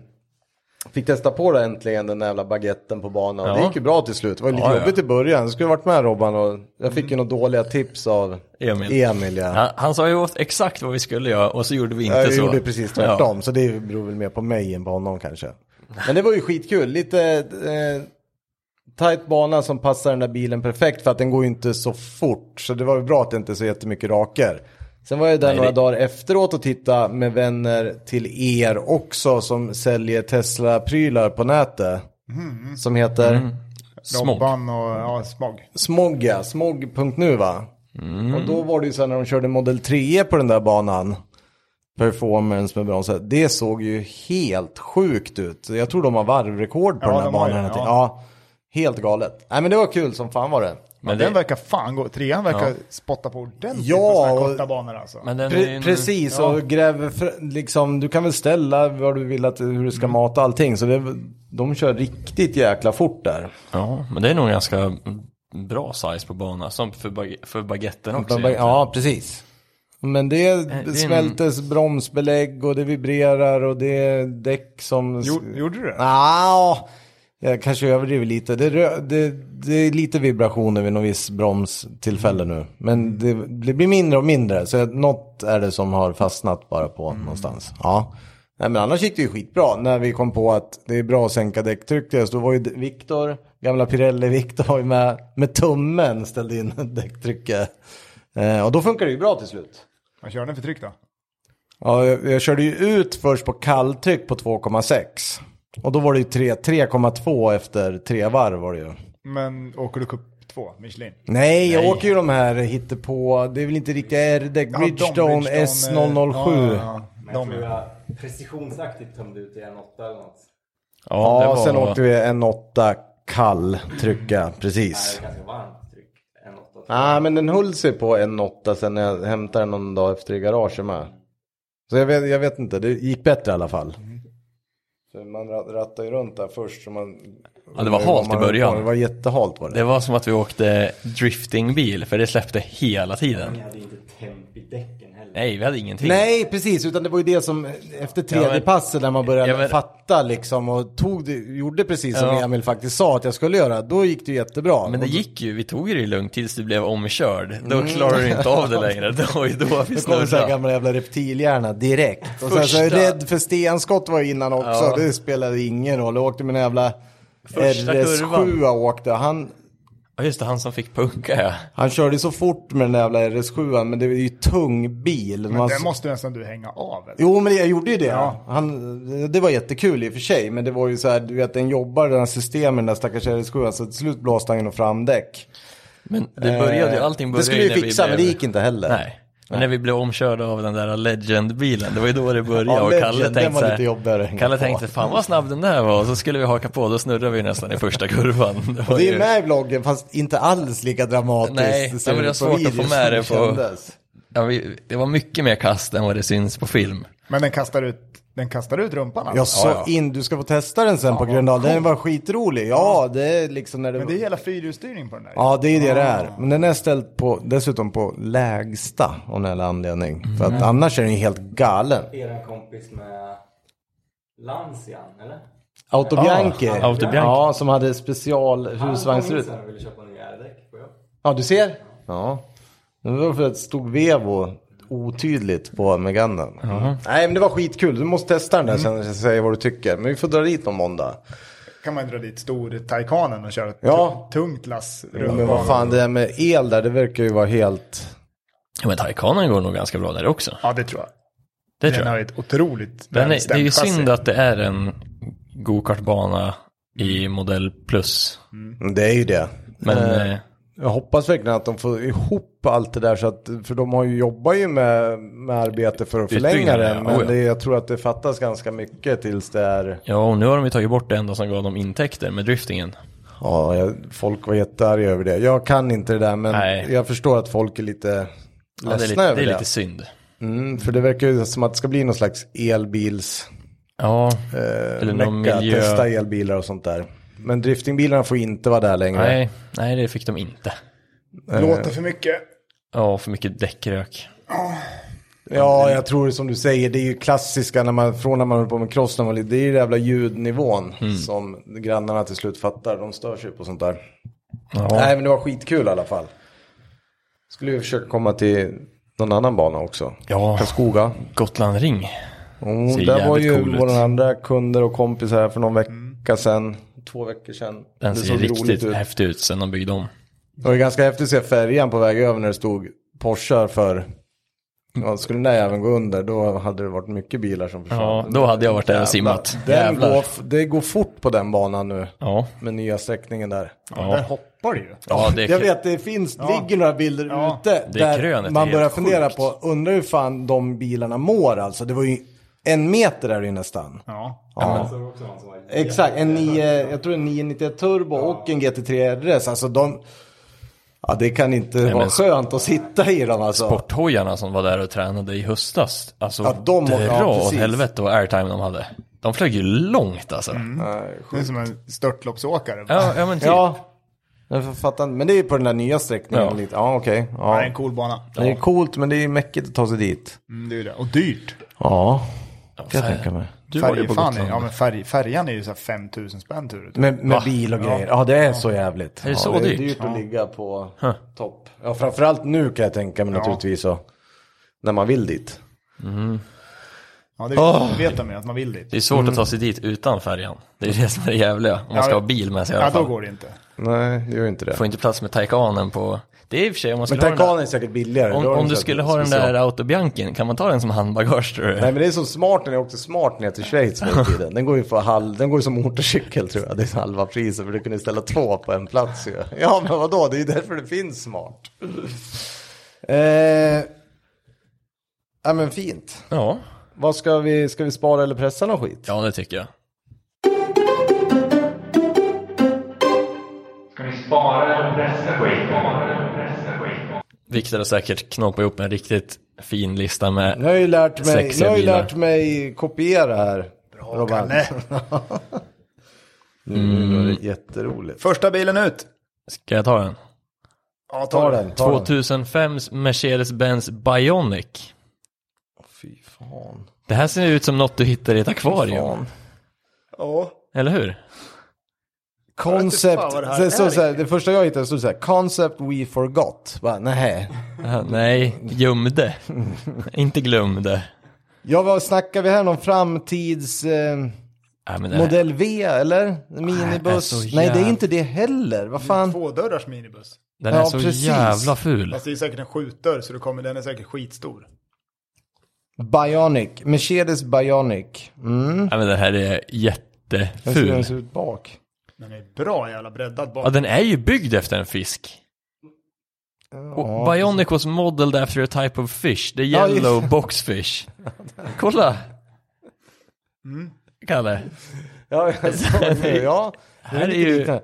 A: fick testa på det äntligen, den där jävla baguetten på banan.
B: Ja.
A: Det gick ju bra till slut. Det var lite
B: Ja, ja.
A: jobbigt i början. Jag skulle varit med Robban och jag fick ju några dåliga tips av
B: Emil.
A: Emil ja.
B: Han, han sa ju åt exakt vad vi skulle göra och så gjorde vi inte
A: Jag
B: så.
A: gjorde precis tvärtom, så det beror väl mer på mig än på honom kanske. Men det var ju skitkul, lite eh, tajt bana som passar den där bilen perfekt för att den går ju inte så fort. Så det var ju bra att det inte är så jättemycket raker. Sen var jag där
B: Nej,
A: några
B: det-
A: dagar efteråt och tittade med vänner till er också som säljer Tesla-prylar på nätet. Som heter
B: Mm. Ja. Smog.
C: Robban och ja, smog.
A: Smogga, smog.nu va? Och då var det ju så här när de körde Model 3 på den där banan. Performance med bromsar. Det såg ju helt sjukt ut. Jag tror de har varvrekord på
C: Ja,
A: den här
C: de har
A: banan.
C: det,
A: Ja.
C: ja.
A: ja, helt galet. Nej men det var kul som fan var det.
B: Men,
C: Den
B: det,
C: verkar fan gå. Trean verkar spotta på ordentligt
A: Ja,
C: på sådana här
A: och-
C: korta banor alltså.
B: men den är ju
A: Pre
B: en-
A: precis, och gräver fr- liksom, du kan väl ställa vad du vill att, hur du ska mata allting. Så det, de kör riktigt jäkla fort där.
B: Ja, men det är nog en ganska bra size på banan, som för, bag- för baguetten också.
A: Ja,
B: egentligen. Eh,
A: ja, precis. Men det,
B: det är en-
A: svältes bromsbelägg och det vibrerar och det är däck som...
C: Jo- Gjorde du det?
A: Nja, jag kanske överdriver lite. Det, rö- det, det är lite vibrationer vid någon viss bromstillfälle nu. Men det, det blir mindre och mindre. Så något är det som har fastnat bara på någonstans. Ja. Nej, men annars gick det ju skitbra när vi kom på att det är bra att sänka däcktrycket. Så Då var ju Viktor, gamla Pirelli-Viktor, var ju med, med tummen ställde in däcktrycket. Eh, och då funkar det ju bra till slut.
C: Vad kör den för tryck då?
A: Ja, jag, jag körde ju ut först på kalltryck på 2,6. Och då var det ju tre- 3,2 efter tre varv var det ju.
C: Men åker du cup 2, Michelin?
A: Nej, jag åker ju de här hittepå, det är väl inte riktiga R-däck,
C: Ja, de
A: Bridgestone
C: Bridgestone, eh,
A: S007. Ja,
C: ja, ja, ja.
D: Men jag
C: De,
D: tror jag precisionsaktigt tömde ut i en åtta eller något.
B: ja, det var...
A: sen åkte vi en 8 kall trycka,
D: Det
A: precis.
D: är ganska varmt tryck. En åtta. tror jag.
A: Nej, men den höll sig på en 8 sen när jag hämtade den någon dag efter i garaget med. Så jag vet, jag vet inte, det gick bättre i alla fall. För man ra- rattar ju runt där först. Så man,
B: Ja, det var halt i början.
A: Det var jättehalt var det.
B: Det var som att vi åkte driftingbil, för det släppte hela tiden.
D: Jag hade inte temp i däcken heller.
B: Nej, vi hade ingenting.
A: Nej, precis. Utan det var ju det som efter tredje
B: Ja, men-
A: passet när man började
B: Ja, men-
A: fatta liksom och tog det, gjorde precis som
B: Ja.
A: Emil faktiskt sa att jag skulle göra. Då gick det ju jättebra.
B: Men det
A: Och
B: gick ju, vi tog det ju lugnt tills du blev omkörd. Då klarade du inte av det längre, det var ju då vi
A: Mm. då kom så här
B: snurrade.
A: gamla jävla reptilhjärna direkt. Och sen så är jag
B: Första-
A: rädd för stenskott var jag innan också.
B: Ja.
A: Det spelade ingen roll. Jag åkte min jävla
B: Första
A: RS7
B: kurvan.
A: jag åkte. Han
B: Ja just det, han som fick punka ja.
A: Han körde så fort med den där jävla RS7, men det är ju tung bil.
C: Men
A: Man-
C: den måste nästan du hänga av. Eller?
A: Jo, men jag gjorde ju det.
C: Ja.
A: Han, det var jättekul i och för sig, men det var ju så här, du vet, den jobbar den här systemen, den där stackars RS7, så till slut blåste han genom framdäck.
B: Men det började ju,
A: Eh,
B: allting
A: Det
B: började
A: skulle ju
B: när vi
A: fixa, men
B: blev-
A: det gick inte heller.
B: Nej. Men när vi blev omkörda av den där Legend-bilen, det var ju då det började.
A: Ja,
B: och
A: Legend,
B: Kalle
A: den
B: tänkte,
A: var
B: så här-
A: lite jobbigare att hänga
B: Kalle
A: på.
B: tänkte, fan vad snabb den där var. Och så skulle vi haka på, då snurrade vi nästan i första kurvan. Det var
A: Och det är
B: ju-
A: med i vloggen, fast inte alls lika dramatiskt.
B: Nej,
A: ser
B: nej, men det
A: ut
B: var
A: på
B: svårt att
A: video
B: få med
A: som
B: det på-
A: kändes.
B: ja, vi, det var mycket mer kast än vad det syns på film.
C: Men den kastar ut, den kastar ut rumpan
A: Jag
C: alltså.
A: sa in, du ska få testa den sen på Gröndal. Den var skitrolig. Ja, det är liksom när det...
C: Men det är hela fyrhjulsstyrning på den där.
A: Ja, det är det det
B: Ah.
A: är. Men den är ställd på, dessutom på lägsta av någon jävla anledning. För
B: Mm.
A: att annars är den ju helt galen.
D: Eran kompis med Lancian, eller?
A: Autobianchi.
B: Ja, Ah, Autobianchi.
A: Ja, som hade special husvagnsrut.
D: Han kom in sen och ville köpa nya R-däck på jobb.
A: Ja, du ser. Ja. Det var för att det stod Vevo otydligt på Mm. Meganen. Nej, men det var skitkul. Du måste testa den där sen och säga vad du tycker. Men vi får dra dit någon måndag.
C: kan man ju dra dit stor Taycanen och köra ett
A: Ja.
C: tu- tungt lass rumpa.
A: Men vad fan, det där med el där, det verkar ju vara helt...
B: Ja, men Taycanen går nog ganska bra där också.
C: Ja, det tror jag.
B: Det
C: Den
B: tror
C: har
B: jag.
C: ju ett otroligt
B: Den är, det är ju
C: välstämt chassi.
B: synd att det är en gokartbana i modell plus.
A: Mm, Det är ju det.
B: Men
A: Eh,
B: eh,
A: Jag hoppas verkligen att de får ihop allt det där så att, för de har ju jobbat ju med, med arbete för att förlänga
B: Utbyggnad,
A: det.
B: ja.
A: Men
B: Oh, ja.
A: det, jag tror att det fattas ganska mycket tills det är...
B: ja, och nu har de ju tagit bort det enda som gav dem intäkter med driftingen.
A: Ja, jag, folk var jättearga över det. Jag kan inte det där, men
B: Nej.
A: jag förstår att folk är lite
B: Ja, det är
A: ledsna
B: lite,
A: över
B: det är
A: det.
B: lite synd.
A: Mm, för det verkar ju som att det ska bli någon slags elbils... eh,
B: Ja, eller
A: Mecka,
B: någon miljö...
A: testa elbilar och sånt där. Men driftingbilarna får inte vara där längre.
B: Nej, nej, det fick de inte.
A: Eh.
C: Låter för mycket.
B: Ja, för mycket däckrök.
A: Ja, jag tror som du säger, det är ju klassiska när man, från när man håller på med cross, när man, var liten, det är ju den jävla ljudnivån
B: Mm.
A: som grannarna till slut fattar. De stör sig på sånt där.
B: Ja.
A: Nej, men det var skitkul i alla fall. Skulle ju försöka komma till någon annan bana också.
B: Ja.
A: Karlskoga.
B: Gotland Ring.
A: Oh,
B: Ser
A: där var
B: jävligt
A: ju
B: cool ut.
A: våra andra kunder och kompisar här för någon vecka sedan. Två veckor sedan.
B: Den
A: det
B: ser
A: såg roligt
B: riktigt
A: ut.
B: häftig ut sen de byggde om.
A: Det var ju ganska häftigt att se färjan på väg över när det stod Porschar för... Ja, skulle den där även gå under då hade det varit mycket bilar som försvann.
B: Ja, då hade jag varit där och simmat.
A: Den
B: Jävlar.
A: går, f- det går fort på den banan nu.
B: Ja,
A: Med nya sträckningen där.
C: Där
B: ja.
C: hoppar det ju.
B: ja det
A: Jag
B: är
A: vet, det finns, ligger några bilder
C: Ja.
A: ute
B: Det är
A: där
B: krönet, det är
A: man börjar
B: helt
A: fundera
B: sjukt.
A: på, undrar hur fan de bilarna mår alltså. Det var ju en meter där inne nästan.
C: Ja.
D: Ja. såg också någon som var
A: Exakt, en 9, jag tror en 991 Turbo och en GT3 RS. Alltså de... Ja, det kan inte vara
B: men-
A: skönt att sitta i dem alltså.
B: sporthojarna som var där och tränade i höstas. Alltså,
A: Ja, de-
B: dra
A: ja,
B: åt
A: precis.
B: helvete vad airtime de hade. De flög ju långt alltså.
C: Det är som en störtloppsåkare.
B: Ja, ja, men typ.
A: Ja. Jag fattar inte. Men det är ju på den där nya sträckningen
B: Ja.
A: lite. Ja, okej.
C: Det
A: Ja.
C: är en cool bana.
A: Det är coolt, men det är ju mäckigt att ta sig dit.
C: Mm, det är ju det. Och dyrt.
A: Ja, kan jag
B: färg-
A: tänka mig.
B: Du var ju
C: Färg,
B: på
C: fan, är-
B: Gotland.
C: ja, men färg, färjan är ju så här 5000 spänn tur och tur.
A: Med, med bil och grejer. Ja, det är så jävligt.
B: Är det
A: ja,
B: så
A: det är
B: dyrt?
A: dyrt att ligga på topp. Ja, framförallt nu kan jag tänka mig naturligtvis. Så, när man vill dit.
C: Ja, det vet de ju att man vill dit.
B: Det är svårt att ta sig dit utan färjan. Det är det som är det jävliga. Om man ska
C: men-
B: ha bil med sig i
C: Ja,
B: alla
C: då
B: fall.
C: går det inte.
A: Nej, det gör inte det.
B: Får inte plats med Taycanen på... Det är i och för sig om man
A: Men
B: skulle ha den där-
A: Taycanen är säkert billigare.
B: Om,
A: Då har de
B: om du
A: säkert
B: skulle ha den
A: special.
B: där autobianken, kan man ta den som handbagage tror du?
A: Nej men det är så smart, den är också smart ner till Schweiz på den tiden. Den går ju, för halv, den går ju som motorcykel tror jag, det är halva priset för du kunde ställa två på en plats ju. Ja men vadå, det är ju därför det finns smart. Eh, ja men fint.
B: Ja.
A: Vad ska vi, ska vi spara eller pressa någon skit?
B: ja, det tycker jag.
E: Ska vi spara eller pressa skiten?
B: Viktor har säkert knåpat ihop en riktigt fin lista med...
A: Nu har jag ju lärt mig, nu
B: Sexiga
A: har jag ju
B: bilar.
A: lärt mig kopiera här. Bra Robban.
C: Kalle.
A: Nu
B: Mm.
A: var det jätteroligt.
C: Första bilen ut.
B: Ska jag ta den?
C: Ja, ta,
A: Ta
C: den.
A: den, ta den.
B: 2005s Mercedes-Benz Bionic.
A: Fy fan.
B: Det här ser ut som något du hittar i ett akvarium.
A: Fan.
C: Ja.
B: Eller hur?
A: Concept,
C: Jag vet inte fan vad det här
A: det, så,
C: är
A: så här, det första jag hittade stod så här, concept we forgot. Bara, nej.
B: Ja, Nej, gömde. Inte glömde.
A: Ja, vad snackar vi här? Någon framtids... Eh,
B: Nej, men det här-
A: Modell V eller?
B: det är så
A: Minibuss?
B: jävla-
A: Nej, det är inte det heller. Vad fan?
C: Tvådörrars minibuss.
B: Den är
A: Ja,
B: så
A: precis.
B: jävla ful.
C: Fast det är säkert en skjutdörr så du kommer, den är säkert skitstor.
A: Bionic. Mercedes Bionic. Mm.
B: Nej men den här är
A: Den ser den
B: jätteful.
A: ser ut bak.
C: Den är bra jävla breddad bak.
B: Ja den är ju byggd efter en fisk. Och Bionic was modeled after a type of fish, the
A: Ja, just-
B: yellow boxfish. Kolla!
A: Mm.
B: Kalle.
A: Ja, jag såg det. Ja, det
B: Här är
A: lite
B: ju-
A: liknande.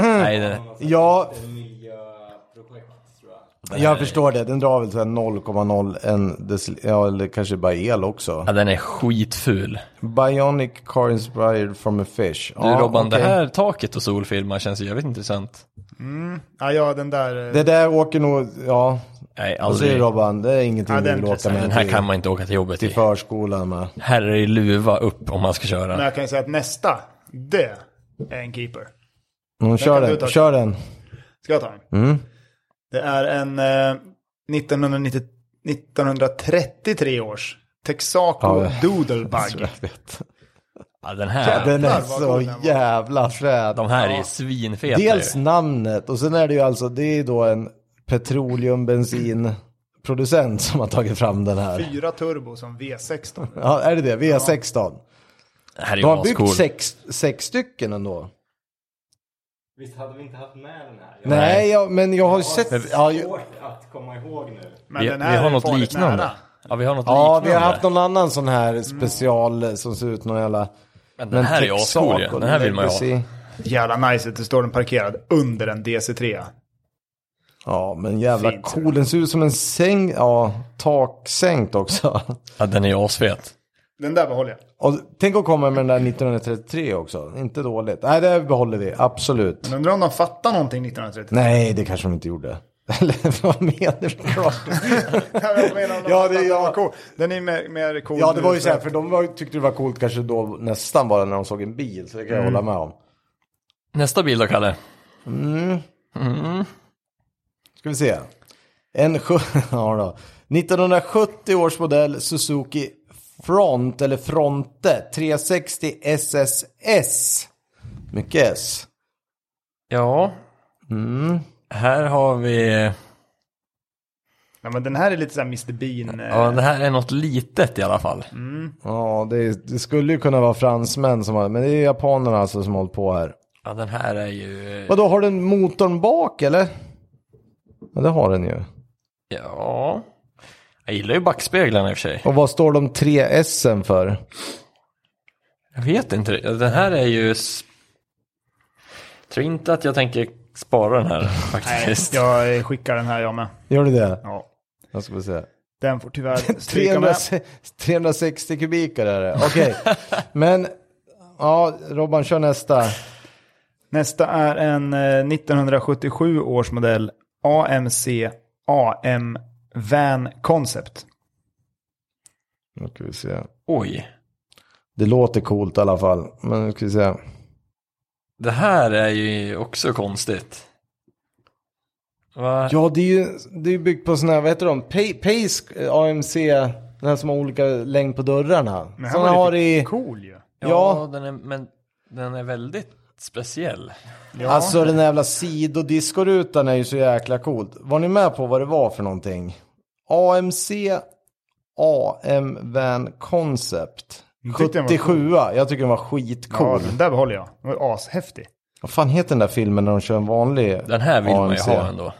B: Nej, den,
A: Ja,
D: Ett miljöprojekt tror jag.
A: jag förstår det. Den drar väl så här 0,01 decil- ja, eller kanske bara el också.
B: ja, den är skitful.
A: Bionic car inspired from a fish.
B: Du Robban,
A: okej.
B: det här taket och solfilmer känns ju jävligt intressant.
C: Ja, ja den där. eh,
A: Det där åker nog, ja.
B: Nej,
A: Vad säger
B: aldrig.
A: Robban? Det är ingenting
C: Ja,
A: du
C: den
A: vill åka
C: pressen.
A: med
B: Den här
A: till,
B: kan man inte åka till jobbet
A: till
B: i.
A: förskolan Mm, med.
B: Här är det luva upp om man ska
C: Men
B: köra.
C: jag kan ju säga att nästa, det är en keeper.
A: Mm, kör
C: kan du
A: den,
C: ta.
A: kör den. Mm.
C: Ska jag ta
B: Mm.
C: den? Det är en eh, 1990, 1933 års Texaco
A: Ja,
C: Doodlebug.
B: Ja, den
C: Jävlar,
B: här,
A: Den är
C: vad
A: så
C: cool den var.
A: jävla fräd.
B: de här är svinfeta
A: Dels
B: ju.
A: namnet och sen är det ju alltså, det är ju då en petroleumbensinproducent som har tagit fram den här.
C: Fyra turbo som V16.
A: Ja, är det det? V16.
B: Det här är
A: De
B: ju
A: har byggt
B: ascool.
A: sex, sex stycken ändå.
D: Visst hade vi inte haft med den här? Jag
A: Nej, jag, men jag har ju sett... Ja,
D: har
A: ju,
D: svårt att komma ihåg nu.
C: Men
B: Vi, vi
C: den här
B: har
C: är
B: något
C: farligt
B: liknande.
C: nära.
B: Ja, vi har något
A: ja,
B: liknande.
A: vi har haft någon annan sån här special eh, som ser ut någon jävla...
B: Men den
A: typ
B: här är ju ascool ju. Den här vill man ju ha.
A: ha.
C: Jävla nice att det står den parkerad under en DC3.
A: Ja, men jävla
C: Fint,
A: cool. Den ser ut som en säng, ja, taksänkt också.
B: Ja, den är ju asfet.
C: Den där behåller jag.
A: Och tänk att komma med den där 1933 också. Inte dåligt. Nej, det behåller vi. Absolut.
C: Men undrar om de fattar någonting 1933.
A: Nej, det kanske de inte gjorde. Eller vad menar du?
C: Jag menar om de
A: Ja,
C: fattar
A: det är
C: att
A: jag.
C: den var cool. Den är mer, mer cool
A: Ja, det
C: nu
A: var ju så här,
C: att-
A: för de var, ju- tyckte det var coolt kanske då nästan bara när de såg en bil. Så det kan jag
B: Mm.
A: hålla med om.
B: Nästa bild då, Kalle.
A: Ska vi se. En sju- ja, då. 1970 års modell Suzuki Front eller Fronte 360 SSS. Mycket S.
B: Ja. Mm. Här har vi...
C: Ja, men den här är lite så här Mr Bean. eh,
B: Ja, det här är något litet i alla fall.
A: Ja, det, det skulle ju kunna vara fransmän som har men det är japanerna alltså som har hållit på här.
B: Ja, den här är ju...
A: Vadå, har den motorn bak eller? Ja, det har den ju.
B: Ja. Jag gillar ju backspeglarna i och för sig.
A: Och vad står de tre S för?
B: Jag vet inte. riktigt. Den här är ju... s- Tror inte att jag tänker spara den här faktiskt.
C: Jag eh, skickar den här jag med.
A: Gör du det?
C: Ja.
A: Jag ska bara se.
C: Den får tyvärr stryka med.
A: 300, 360 kubikar är det. Okej, men ja, Robban kör nästa.
C: Nästa är en eh, 1977 års modell AMC AM Van Concept.
A: Nu ska vi se.
B: Oj.
A: Det låter coolt i alla fall, men nu ska vi se.
B: Det här är ju också konstigt. Va?
A: Ja, det är ju det är ju byggt på sådana här, vad heter de? Pa- Pace eh, AMC, den här som har olika längd på dörrarna.
C: Den här
A: Sådana
C: var
A: har
C: lite
A: i,
C: cool ju.
A: ja.
B: den är, men den är väldigt speciell.
C: Ja.
A: alltså den här jävla sidodiskorutan är ju så jäkla coolt. Var ni med på vad det var för någonting? AMC AM Van Concept.
C: Jag tyckte den var
A: 77 Jag tycker den var
C: ja,
A: skitcool.
C: den där behåller jag. Den var ashäftig.
A: Vad fan heter den där filmen när de kör en vanlig
B: Den här vill man ju
A: AMC?
B: ha ändå.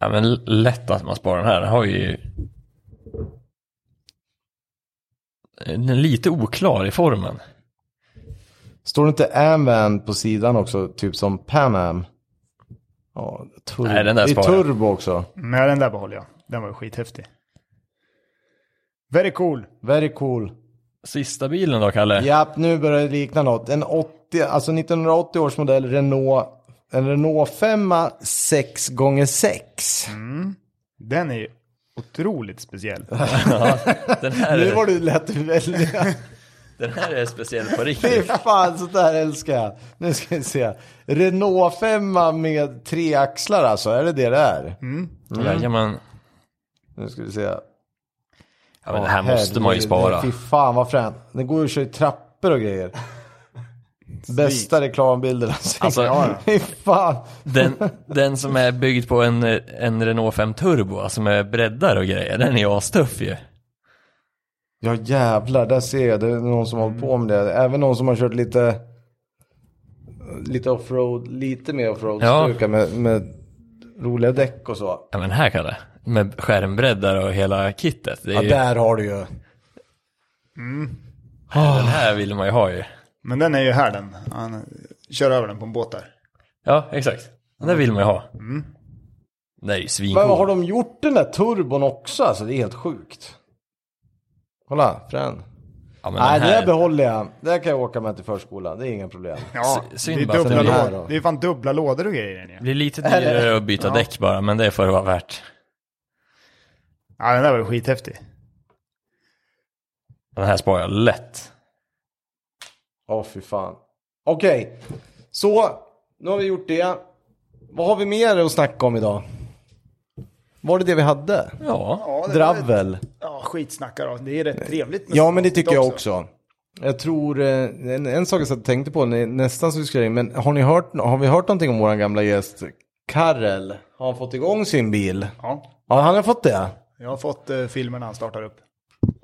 B: Ja men l- lätt att man sparar den här. Den har ju... Den är lite oklar i formen.
A: Står det inte Am-Van på sidan också, typ som Pan Am? Ja, tur-
B: Nej, den där
A: det är
B: sparar jag.
A: turbo också.
C: Nej, den där behåller jag. Den var ju skithäftig. Very cool.
A: Very cool.
B: Sista bilen då Kalle?
A: Japp, nu börjar det likna något. En 80, alltså 1980 års modell Renault, en Renault 5 6x6.
C: Den är ju otroligt speciell.
B: Den, här
A: Nu
B: är,
A: var du lätt väldigt...
B: den här är speciell på
A: Fy
B: riktigt.
A: fan, sånt där älskar jag. Nu ska vi se. Renault 5 med tre axlar alltså, är det det det är?
B: Jajamän.
A: Nu ska vi se.
B: Ja, men det här måste man ju
A: Herregud,
B: spara.
A: Fy fan vad fränt. Det går ju att köra i trappor och grejer. Bästa reklambilderna.
B: Alltså-
A: Ja, ja. Fy fan.
B: Den, den som är byggd på en, en Renault 5 Turbo, alltså med breddar och grejer, den är ju astuff ju.
A: Ja jävlar, där ser jag. Det är någon som har hållit på med det. Även någon som har kört lite, lite offroad, lite mer offroad
B: Ja.
A: styrka med, med roliga däck och så.
B: Ja men här Kalle, med skärmbreddar och hela kittet. Det är
A: Ja,
B: ju,
A: där har du ju. Ah.
B: Den här vill man ju ha ju.
C: Men den är ju här den. Han kör över den på en båt där.
B: Ja, exakt. Den där vill man ju ha. Den där är ju
A: Men Mm. har
B: svincool.
A: de gjort den där turbon också? Alltså det är helt sjukt. Kolla, frän.
B: Ja, men
A: Nej,
B: den
A: det där
B: här,
A: behåller jag. Det där kan jag åka med till förskolan. Det är inga problem.
C: Ja,
B: S- synd
C: det är
B: bara att
C: dubbla
A: den är här
C: lådor.
A: då.
C: Det är fan dubbla lådor och grejer i den ju.
B: blir lite dyrare att byta däck bara, men det får det vara värt.
C: Ja, den där var ju skithäftig.
B: Den här sparar jag lätt.
A: Åh fy fan. Okej, så nu har vi gjort det. Vad har vi mer att snacka om idag? Var det det vi hade?
B: Ja,
C: Ja, det var ett-
A: Dravel.
C: Ja, skitsnackar då. Det är rätt trevligt. med
A: Ja, men det tycker jag
C: sånt
A: också. Jag tror, eh, en, en sak jag satt och tänkte på, nä- nästan så vi skulle men har, ni hört, har vi hört någonting om vår gamla gäst Karel? Har han fått igång sin bil?
C: Ja,
A: Ja, han har fått det.
C: jag har fått eh, filmen när han startar upp.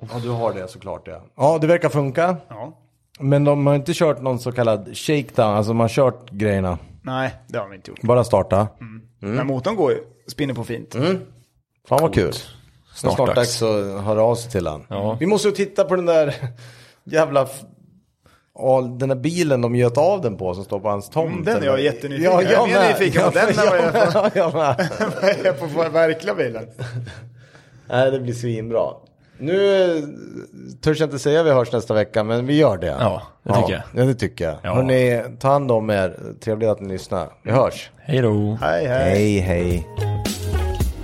A: Ja, du har det såklart ja. Ja, det verkar funka.
C: Ja.
A: Men de har inte kört någon så kallad shakedown, alltså man har kört grejerna.
C: Nej, det har vi inte gjort.
A: Bara starta. Mm.
C: Men motorn går ju, spinner på fint.
A: Fan vad kul. Snart,
B: Snart
A: snart
B: dags.
A: dags att höra av sig till han.
B: Ja.
A: Vi måste ju titta på den där jävla... f- all- Den där bilen de göt av den på som står på hans tomt.
C: Mm, den är jag
A: eller?
C: jättenyfiken. Jag är mer
A: med.
C: nyfiken på den än vad jag är
A: jag, jag med.
C: Vad är jag på för verkliga bilen?
A: Nej, det blir svinbra. Nu eh, törs jag inte säga vi hörs nästa vecka, men vi gör det.
B: Ja, det tycker jag.
A: Ja, det tycker jag.
B: Ja.
A: Hörrni, ta hand om er. Trevligt att ni lyssnar. Vi hörs.
B: hej då.
C: Hej,
A: Hej,
C: hej.
A: hej.